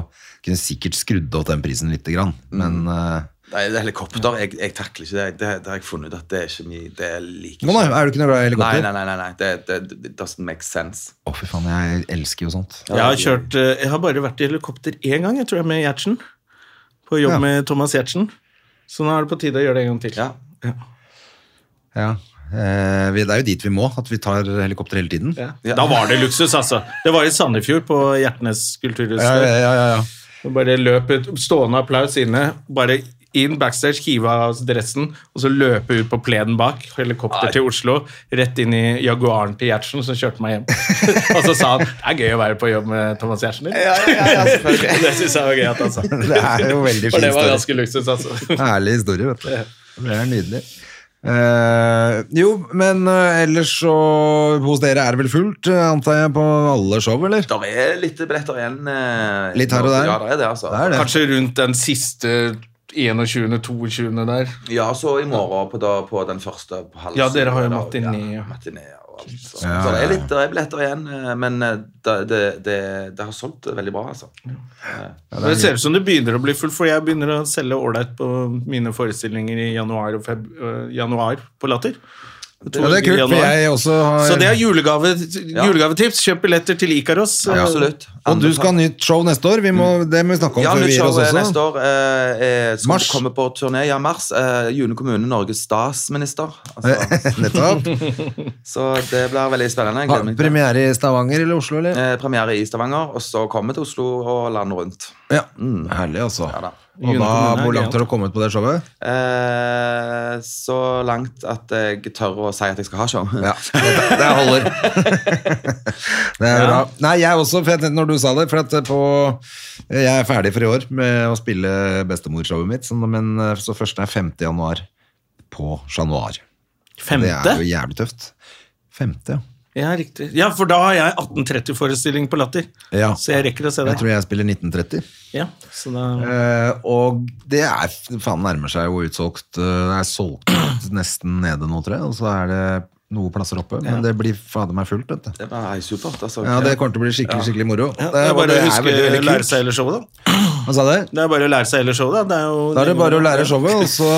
Speaker 2: Kunne sikkert skrudd opp den prisen lite grann, men
Speaker 1: Mm.
Speaker 2: eh,
Speaker 3: Nei, det er helikopter. Jeg, jeg takler ikke det. Det, det har jeg funnet ut at det er ikke mye Det er like
Speaker 2: Å nei, er du ikke noe glad i
Speaker 3: Nei,
Speaker 2: helikopter?
Speaker 3: nei, nei, nei, nei. Det, det, det doesn't make sense.
Speaker 2: Å, fy faen, jeg elsker jo sånt.
Speaker 1: Jeg har, kjørt, eh, jeg har bare vært i helikopter én gang, jeg tror jeg, med Gjertsen. På jobb
Speaker 2: Ja.
Speaker 1: med Thomas Gjertsen. Så nå er det på tide å gjøre det en gang til.
Speaker 3: Ja.
Speaker 2: Ja. Eh, vi- det er jo dit vi må, at vi tar helikopter hele tiden.
Speaker 1: Ja. Da var det luksus, altså. Det var i Sandefjord, på Hjertnes kulturhus.
Speaker 2: ja, ja, ja, ja.
Speaker 1: Og Bare løp ut, stående applaus inne, bare inn backstage, hive av dressen, og så løpe ut på plenen bak. Helikopter til Oslo, rett inn i Jaguaren til Gjertsen, som kjørte meg hjem. og så sa han det er gøy å være på jobb med Thomas Gjertsen. din». det syns jeg var gøy at han sa.
Speaker 2: Det er jo veldig
Speaker 1: altså. For
Speaker 2: fin
Speaker 1: det var
Speaker 2: historie.
Speaker 1: ganske luksus, altså.
Speaker 2: Ærlig historie, vet du. Det er nydelig. Eh, jo, men eh, ellers så Hos dere er det vel fullt, eh, antar jeg, på alle show, eller?
Speaker 3: Det er litt billetter igjen. eh,
Speaker 2: Litt her og der.
Speaker 3: Ja, det er det, altså.
Speaker 2: Det er det.
Speaker 1: Kanskje rundt den siste 21., 22. der.
Speaker 3: Ja, så i morgen på, da, på den første på halv
Speaker 1: Ja, dere har jo
Speaker 3: syv, da,
Speaker 1: matiné, ja.
Speaker 3: matiné og alt. Så,
Speaker 2: Ja,
Speaker 3: så
Speaker 2: ja,
Speaker 3: det er
Speaker 2: ja.
Speaker 3: litt det er billetter igjen, eh, men eh, det, det, det, det har solgt veldig bra, altså.
Speaker 1: Men det ser ut som det begynner å bli fullt, for jeg begynner å selge ålreit på mine forestillinger i januar, og feb øh, januar på Latter.
Speaker 2: Ja, det er kult, for jeg også har
Speaker 1: Så det er julegave, julegavetips. Kjøp billetter til Ikaros.
Speaker 2: Ja.
Speaker 3: Absolutt.
Speaker 2: Og du skal ha nytt show neste år. Vi må, det må vi snakke om
Speaker 3: Ja,
Speaker 2: før
Speaker 3: nytt
Speaker 2: vi gir
Speaker 3: show
Speaker 2: oss
Speaker 3: er
Speaker 2: også.
Speaker 3: neste år. Eh, eh, skal
Speaker 2: Mars.
Speaker 3: vi komme på turné. Ja, mars. Eh, June kommune, Norges statsminister. Altså,
Speaker 2: Nettopp.
Speaker 3: så det blir veldig spennende. Jeg
Speaker 2: Ha,
Speaker 3: gleder meg. til det.
Speaker 2: premiere i Stavanger eller Oslo, eller?
Speaker 3: Eh, premiere i Stavanger, og så kommer til Oslo og landet rundt.
Speaker 2: Ja. Herlig, altså.
Speaker 3: Ja, da.
Speaker 2: Og da,
Speaker 1: Julekommunen er
Speaker 2: hvor
Speaker 1: gøy,
Speaker 2: langt
Speaker 1: ja.
Speaker 2: har du kommet på det showet?
Speaker 3: Eh, så langt at jeg tør å si at jeg skal ha show.
Speaker 2: Ja, det, det holder. det er bra. Nei, jeg også, for jeg tenkte når du sa det, for at eh, på, jeg er ferdig for i år med å spille bestemorshowet mitt, sånn, men eh, så først er 5. januar på januar. Det
Speaker 1: Femte?
Speaker 2: er jo jævlig tøft. 5. ja.
Speaker 1: Ja, riktig. Ja, for da har jeg 1830-forestilling på Latter,
Speaker 2: Ja.
Speaker 1: så jeg rekker å se
Speaker 2: Jeg
Speaker 1: deg.
Speaker 2: tror jeg spiller 1930.
Speaker 1: Ja, så da...
Speaker 2: Eh, og det er faen nærmer seg jo utsolgt. Eh, Det er solgt ut nesten nede nå, tror jeg, og så er det noe plasser oppe. Men det blir fader meg fullt, vet du.
Speaker 3: Det var supert, altså.
Speaker 2: Ja, det kommer til å bli skikkelig, skikkelig moro.
Speaker 1: Ja, det er
Speaker 2: og
Speaker 1: bare å
Speaker 2: er
Speaker 1: huske
Speaker 2: veldig, veldig
Speaker 1: å lære
Speaker 2: kult.
Speaker 1: seg hele showet, da.
Speaker 2: Hva sa du?
Speaker 1: Det er bare å lære seg hele showet, da. Det er jo
Speaker 2: Da er det bare å lære showet, og så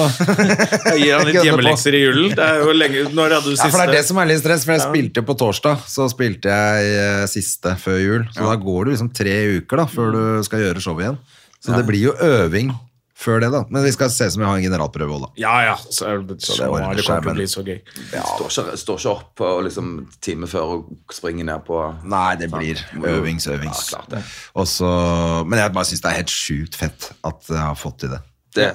Speaker 1: Jeg gir han
Speaker 2: Gønne
Speaker 1: litt
Speaker 2: på.
Speaker 1: hjemmelekser i julen. Det er jo lenge Når hadde du
Speaker 2: Ja,
Speaker 1: siste?
Speaker 2: for det er det som er litt stress, for jeg spilte på torsdag, så spilte jeg eh, siste før jul. Så da går det liksom tre uker da, før du skal gjøre showet igjen. Så det blir jo øving før det, da. Men vi skal se som vi har en generalprøve òg, da.
Speaker 1: Ja, ja. Så er det, så
Speaker 2: det ordner
Speaker 1: det
Speaker 2: seg,
Speaker 1: kommer til å
Speaker 2: men-
Speaker 1: bli så gøy.
Speaker 3: Står, ikke, står ikke opp og liksom time før og springer ned på
Speaker 2: Nei, det blir øvings, øvings.
Speaker 3: Ja, klart det.
Speaker 2: Og så, men jeg bare syns det er helt sjukt fett at jeg har fått til det.
Speaker 3: Det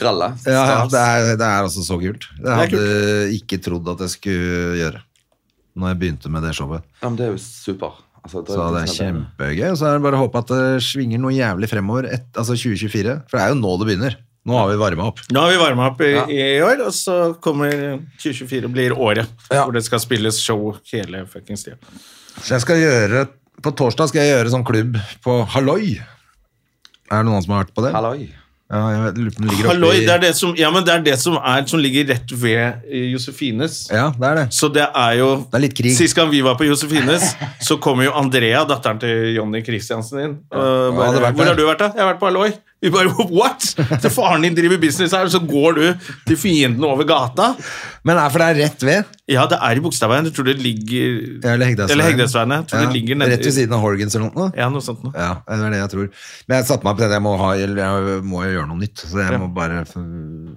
Speaker 3: graller.
Speaker 2: Ja, ja, det, er, det er altså så kult. Jeg
Speaker 1: Det er
Speaker 2: hadde ikke trodd at jeg skulle gjøre når jeg begynte med det showet.
Speaker 3: Ja, men det er jo super. Altså, det er-
Speaker 2: Så det er kjempegøy. Og så er det bare å håpe at det svinger noe jævlig fremover. Et, altså 2024. For det er jo nå det begynner. Nå har vi varma opp.
Speaker 1: Nå har vi varma opp i,
Speaker 3: Ja.
Speaker 1: i år, og så kommer 2024 blir året hvor det skal spilles show hele fuckings tida.
Speaker 2: Så jeg skal gjøre På torsdag skal jeg gjøre sånn klubb på Halloi. Er det noen som har hørt på det?
Speaker 3: Halloi.
Speaker 2: Ja, jeg vet, lurer på om den ligger oppe
Speaker 1: Halloi,
Speaker 2: i-
Speaker 1: det er det som, ja, men det er det som, er, som ligger rett ved eh, Josefines.
Speaker 2: Ja, det er det.
Speaker 1: Så det er jo
Speaker 2: Det er litt krig.
Speaker 1: Sist gang vi var på Josefines, så kom jo Andrea, datteren til Jonny Christiansen, inn. og
Speaker 2: Ja, hadde
Speaker 1: bare,
Speaker 2: vært
Speaker 1: hvor
Speaker 2: der.
Speaker 1: har du vært, da? Jeg har vært på Halloi. Vi bare What?! Så faren din driver business her, og så går du til fienden over gata?
Speaker 2: Men er for det er rett ved.
Speaker 1: Ja, det er i Bogstadveien. Jeg tror det ligger
Speaker 2: Ja, Eller Hegdesveien.
Speaker 1: Eller Hegdesveien, jeg tror det ligger nede-
Speaker 2: Rett ved siden av Horgans eller noe.
Speaker 1: Ja, noe sånt noe.
Speaker 2: Ja, det er det jeg tror. Men jeg satte meg på den, jeg må, ha, eller jeg må jo gjøre noe nytt. Så jeg
Speaker 1: Ja.
Speaker 2: må bare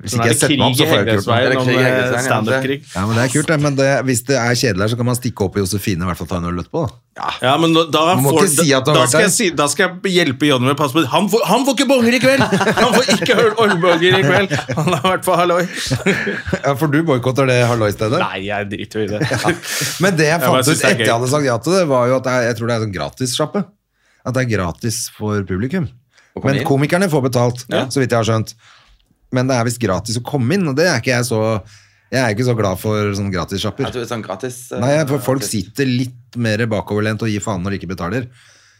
Speaker 2: Hvis ikke jeg
Speaker 1: Nå Sånn er det krig
Speaker 2: setter meg opp,
Speaker 1: i
Speaker 2: så får jeg ikke gjort noe.
Speaker 1: Hegdesveien
Speaker 3: Det er
Speaker 1: om
Speaker 3: krig i Hegdesveien,
Speaker 1: eh,
Speaker 3: ja.
Speaker 1: standup-krig.
Speaker 2: Ja, men det er kult, det. Men det, hvis det er kjedelig her, så kan man stikke opp på Josefine og i hvert fall ta en øl etterpå. da.
Speaker 1: Ja, men nå- da,
Speaker 2: Du må
Speaker 1: får,
Speaker 2: ikke si at du har
Speaker 1: da, da,
Speaker 2: vært
Speaker 1: skal
Speaker 2: der.
Speaker 1: jeg si, da skal jeg hjelpe Jonny med å passe på han får, han får ikke bonger i kveld! Han får ikke øl- ølbonger i kveld! Han har vært på halloi.
Speaker 2: Ja, For du boikotter det halloi-stedet?
Speaker 1: Nei, jeg driter jo i det.
Speaker 2: Men det jeg
Speaker 1: bare
Speaker 2: fant ut
Speaker 1: synes det er
Speaker 2: etter
Speaker 1: gøy.
Speaker 2: jeg hadde sagt ja til det, var jo at jeg, jeg tror det er en gratissjappe. At det er gratis for publikum.
Speaker 3: komme
Speaker 2: Men
Speaker 3: inn.
Speaker 2: komikerne får betalt,
Speaker 1: Ja.
Speaker 2: så vidt jeg har skjønt. Men det er visst gratis å komme inn, og det er ikke jeg så Jeg er ikke så glad for sånne
Speaker 3: Ja,
Speaker 2: gratissjapper.
Speaker 3: du er sånn gratis. eh,
Speaker 2: Nei, for folk
Speaker 3: gratis.
Speaker 2: sitter litt mer bakoverlent og gir faen når de ikke betaler.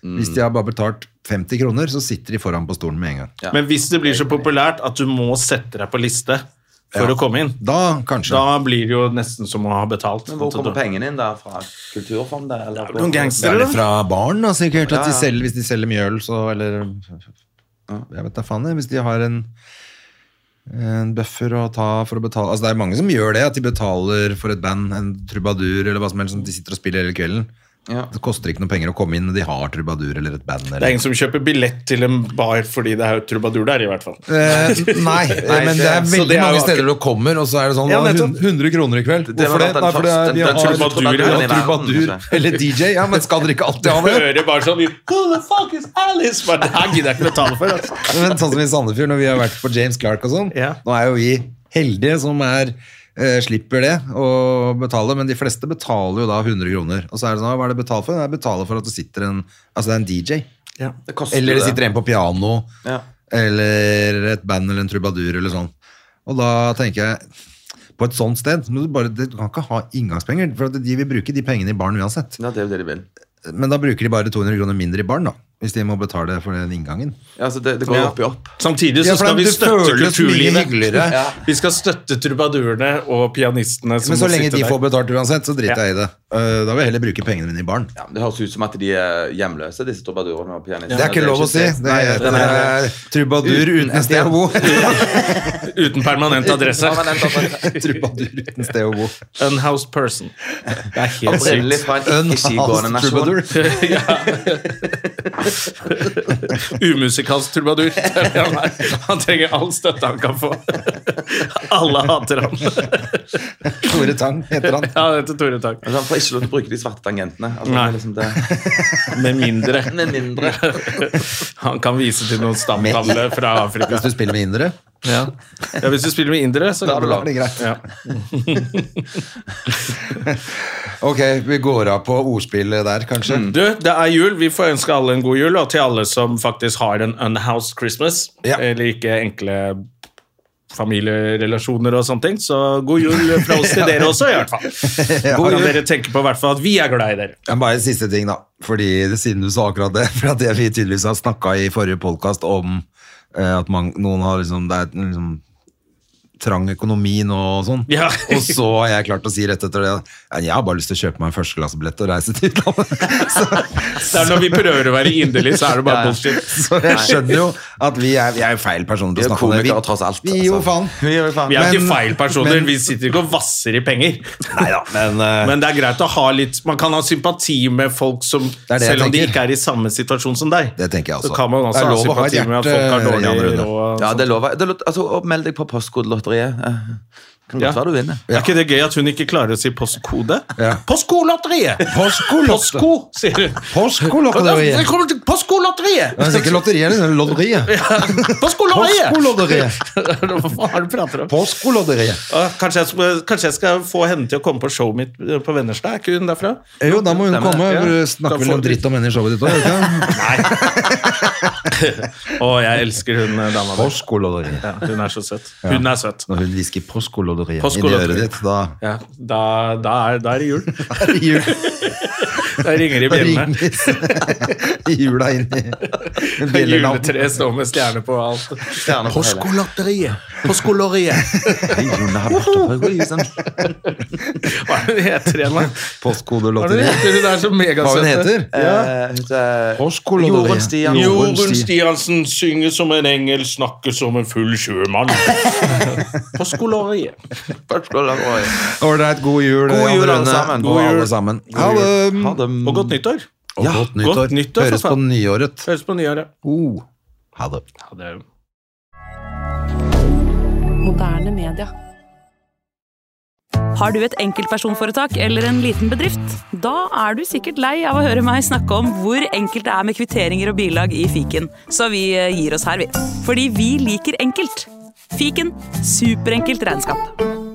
Speaker 2: Hvis de har bare betalt 50 kroner, så sitter de foran på stolen med en gang.
Speaker 3: Ja.
Speaker 1: Men hvis det blir så populært at du må sette deg på liste for å komme inn,
Speaker 2: Da kanskje.
Speaker 1: da blir det jo nesten som å ha betalt.
Speaker 3: Men hvor
Speaker 1: Sånn at
Speaker 3: kommer
Speaker 1: du-
Speaker 3: pengene inn der? Fra Kulturfondet? Eller
Speaker 1: Noen
Speaker 2: Det er
Speaker 1: gangstere,
Speaker 2: det
Speaker 1: da?
Speaker 2: fra barn, da, sikkert. At
Speaker 3: Ja,
Speaker 2: de
Speaker 3: ja.
Speaker 2: selger, hvis de selger mye øl, så Eller Jeg vet da faen, jeg. Hvis de har en en buffer å ta for å betale Altså Det er mange som gjør det, at de betaler for et band, en trubadur eller hva som helst, som de sitter og spiller hele kvelden.
Speaker 3: Ja.
Speaker 2: Det koster ikke noe penger å komme inn, de har trubadur eller et band.
Speaker 1: Det er
Speaker 2: Eller.
Speaker 1: ingen som kjøper billett til en bar fordi det er trubadur der, i hvert fall.
Speaker 2: Eh, nei, men det er veldig
Speaker 1: så det er jo
Speaker 2: mange
Speaker 1: akkurat-
Speaker 2: steder du kommer, og så er det sånn
Speaker 1: Ja,
Speaker 2: "Hva,
Speaker 1: nettopp.
Speaker 2: 100 kroner i kveld.
Speaker 3: Det var
Speaker 2: Hvorfor det?
Speaker 3: den
Speaker 2: Nei, fordi
Speaker 3: første-
Speaker 2: vi
Speaker 3: den
Speaker 2: har
Speaker 3: første
Speaker 2: trubadur,
Speaker 3: trubaduren i
Speaker 2: ja,
Speaker 3: verden,
Speaker 2: trubadur
Speaker 3: kanskje.
Speaker 2: eller DJ. Ja, men skal dere ikke alltid ha det?
Speaker 1: Hører bare sånn Who the fuck is Alice? Bare, det her gidder jeg ikke betale for. Altså.
Speaker 2: Men sånn som i Sandefjord, når vi har vært på James Clark og sånn,
Speaker 1: Ja.
Speaker 2: nå er jo vi heldige som er eh, slipper det å betale, men de fleste betaler jo da 100 kroner. Og så er det sånn, «Ah, hva er det betalt for? Det er betalt for at det sitter en, altså det er en DJ.
Speaker 3: Det koster
Speaker 2: Eller
Speaker 3: jo
Speaker 2: det
Speaker 3: det.
Speaker 2: sitter en på piano,
Speaker 3: Ja.
Speaker 2: eller et band eller en trubadur eller sånn. Og da tenker jeg, på et sånt sted, men du, bare, du kan ikke ha inngangspenger, for at de vil bruke de pengene i barn uansett.
Speaker 3: Ja, det er jo det de vil.
Speaker 2: Men da bruker de bare 200 kroner mindre i barn da, hvis de må betale for den inngangen.
Speaker 3: Ja, altså det, det går
Speaker 1: Ja.
Speaker 3: opp i opp.
Speaker 1: Samtidig så
Speaker 2: Ja, for
Speaker 1: skal
Speaker 2: det-
Speaker 1: vi
Speaker 2: det
Speaker 1: støtte
Speaker 2: føles mye
Speaker 1: kulturlivet.
Speaker 2: hyggeligere.
Speaker 3: Ja.
Speaker 1: Vi skal støtte trubadurene og pianistene.
Speaker 2: Men
Speaker 1: Som
Speaker 2: så
Speaker 1: må
Speaker 2: lenge
Speaker 1: sitte
Speaker 2: de
Speaker 1: der.
Speaker 2: får betalt uansett, så driter
Speaker 1: Ja.
Speaker 2: jeg i det. Eh, Da vil jeg heller bruke pengene mine i barn.
Speaker 3: Ja, det høres ut som at de er hjemløse, disse trubadurene og pianistene.
Speaker 2: Det er ikke lov å si. Det
Speaker 3: Nei,
Speaker 2: er,
Speaker 3: det er-
Speaker 2: trubadur uten et sted å bo.
Speaker 1: Uten permanent adresse.
Speaker 3: Permanent adresse.
Speaker 2: trubadur uten sted å bo.
Speaker 1: Unhoused person. Det er helt
Speaker 3: Opprinnelig
Speaker 1: sykt.
Speaker 3: fra en ikke-skigående
Speaker 2: Unhoused
Speaker 3: nasjon.
Speaker 2: trubadur.
Speaker 1: Umusikalsk trubadur. Det er det Han er. Han trenger all støtte han kan få. Alle hater han.
Speaker 2: Tore Tang heter han.
Speaker 1: Ja, det heter Tore Takk.
Speaker 3: Altså, han får ikke lov til å bruke de svarte tangentene. Altså,
Speaker 1: Nei.
Speaker 3: det er liksom det.
Speaker 1: Med mindre
Speaker 3: Med mindre.
Speaker 1: han kan vise til noen stamtavle fra Afrika.
Speaker 2: Hvis du spiller med indere.
Speaker 1: Ja. ja, Hvis du spiller med indere, så
Speaker 2: Da er
Speaker 1: går
Speaker 2: det
Speaker 1: bra.
Speaker 2: greit.
Speaker 1: Ja.
Speaker 2: Ok, vi går av på ordspillet der, kanskje.
Speaker 3: Mm.
Speaker 1: Du, det er jul. Vi får ønske alle en god jul, og til alle som faktisk har en unhoused Christmas,
Speaker 2: Ja.
Speaker 1: eller ikke enkle familierelasjoner og sånne ting, så god jul fra oss til dere også, i hvert fall. God jul. Dere tenker på i hvert fall at vi er glad i dere.
Speaker 2: Ja, Bare en siste ting, da. Fordi det- Siden du sa akkurat det. For at jeg, vi tydeligvis har snakka i forrige podkast om eh, at man, noen har liksom Det er liksom trang økonomi nå og sånn.
Speaker 1: Ja.
Speaker 2: Og så har jeg klart å si rett etter det ja, jeg har bare lyst til å kjøpe meg en førsteklassebillett og reise til utlandet. Så,
Speaker 1: Det er når vi prøver å være inderlige, så er det bare
Speaker 3: Ja, ja.
Speaker 1: bullshit.
Speaker 2: så jeg skjønner jo at vi er, vi er jo feil personer
Speaker 3: Vi
Speaker 2: til å
Speaker 3: er
Speaker 2: snakke om det.
Speaker 3: komikere tross alt.
Speaker 2: Vi gir jo
Speaker 3: altså.
Speaker 2: faen.
Speaker 3: Vi gir jo faen.
Speaker 1: Vi er jo
Speaker 2: Men-
Speaker 1: ikke feil personer,
Speaker 2: men-
Speaker 1: vi sitter ikke og vasser i penger.
Speaker 2: Neida, men, eh,
Speaker 1: Men det er greit å ha litt Man kan ha sympati med folk som
Speaker 2: er det jeg
Speaker 1: Selv om de
Speaker 2: tenker.
Speaker 1: ikke er i samme situasjon som deg.
Speaker 2: Det tenker jeg også.
Speaker 1: Så kan man
Speaker 2: Det
Speaker 1: også
Speaker 2: er
Speaker 1: ha
Speaker 2: lov å ha et
Speaker 1: sympati med at folk har
Speaker 2: hjerte, Jan
Speaker 1: dårlig
Speaker 2: Rune.
Speaker 1: råd.
Speaker 3: Ja, det lover jeg. Det er lov- Altså, og meld deg på Postkodelotteriet. Eh, Kan godt
Speaker 1: Ja.
Speaker 3: være du vinner.
Speaker 1: Er ikke det gøy at hun ikke klarer å si postkode?
Speaker 2: Ja.
Speaker 1: Postkolotteriet!
Speaker 2: Postkolot-
Speaker 1: Postko, sier hun.
Speaker 2: Postkolotteriet.
Speaker 1: Velkommen til Postkolotteriet!
Speaker 2: Det er sikkert lotteriet, eller lodderiet.
Speaker 1: Postkolotteriet!
Speaker 2: Postkolotteriet.
Speaker 1: Hva faen er det du prater om?
Speaker 2: Postkolotteriet.
Speaker 1: Ah, Kanskje jeg, skal, kanskje jeg skal få henne til å komme på showet mitt eh, på Vennerstad? Er ikke hun derfra?
Speaker 2: Eh, Jo, da må hun
Speaker 3: Stemmer.
Speaker 2: komme.
Speaker 1: Ja.
Speaker 2: for du Snakker vel
Speaker 1: Da får-
Speaker 2: noe dritt om henne i showet ditt òg?
Speaker 1: Nei. Å, jeg elsker hun eh, dama der.
Speaker 2: Postkolotteriet.
Speaker 1: Ja, hun er så søt. Hun er søt.
Speaker 2: Når hun hvisker 'postkolotteriet' inn i øret
Speaker 1: Postkolotteriet.
Speaker 2: ditt, da
Speaker 1: Ja, da, da, er, da er det jul.
Speaker 2: er det jul.
Speaker 1: Da ringer det i
Speaker 2: Da
Speaker 1: bjellene.
Speaker 2: ringes jula inn i bjellelampen.
Speaker 1: Juletreet står med stjerne på og alt.
Speaker 3: Stjerne på hele.
Speaker 1: Postkolotteriet! Postkoloriet!
Speaker 3: Hei, Rune, har vært oppe på
Speaker 2: liksom.
Speaker 3: huset.
Speaker 1: Hva er det hun heter igjen, da? Hva er det hun
Speaker 2: Postkodelotteriet.
Speaker 1: heter? Hun er så
Speaker 2: Hva
Speaker 1: megasøt.
Speaker 2: hun heter?
Speaker 3: Eh, hun heter-
Speaker 2: Postkodelotteriet.
Speaker 3: Jorunn Stian.
Speaker 2: Jo.
Speaker 1: Jorunn Stiansen synger som en engel, snakker som en full sjømann. På skoleriet.
Speaker 3: Postkodelotteriet.
Speaker 2: Ålreit, god jul,
Speaker 3: God jul,
Speaker 2: Jan
Speaker 3: alle
Speaker 2: Rune,
Speaker 3: sammen.
Speaker 2: Og
Speaker 3: God
Speaker 2: alle sammen. Ha
Speaker 3: Ha
Speaker 2: det.
Speaker 3: det.
Speaker 1: Og godt nyttår.
Speaker 2: Og godt nyttår.
Speaker 1: godt nyttår, for
Speaker 2: Høres på
Speaker 1: faen.
Speaker 2: nyåret.
Speaker 1: Høres på nyåret.
Speaker 2: Oh. Ha det.
Speaker 1: Ha det.
Speaker 4: Moderne media. Har du et enkeltpersonforetak eller en liten bedrift? Da er du sikkert lei av å høre meg snakke om hvor enkelt det er med kvitteringer og bilag i fiken, så vi eh, gir oss her, vi. Fordi vi liker enkelt. Fiken superenkelt regnskap.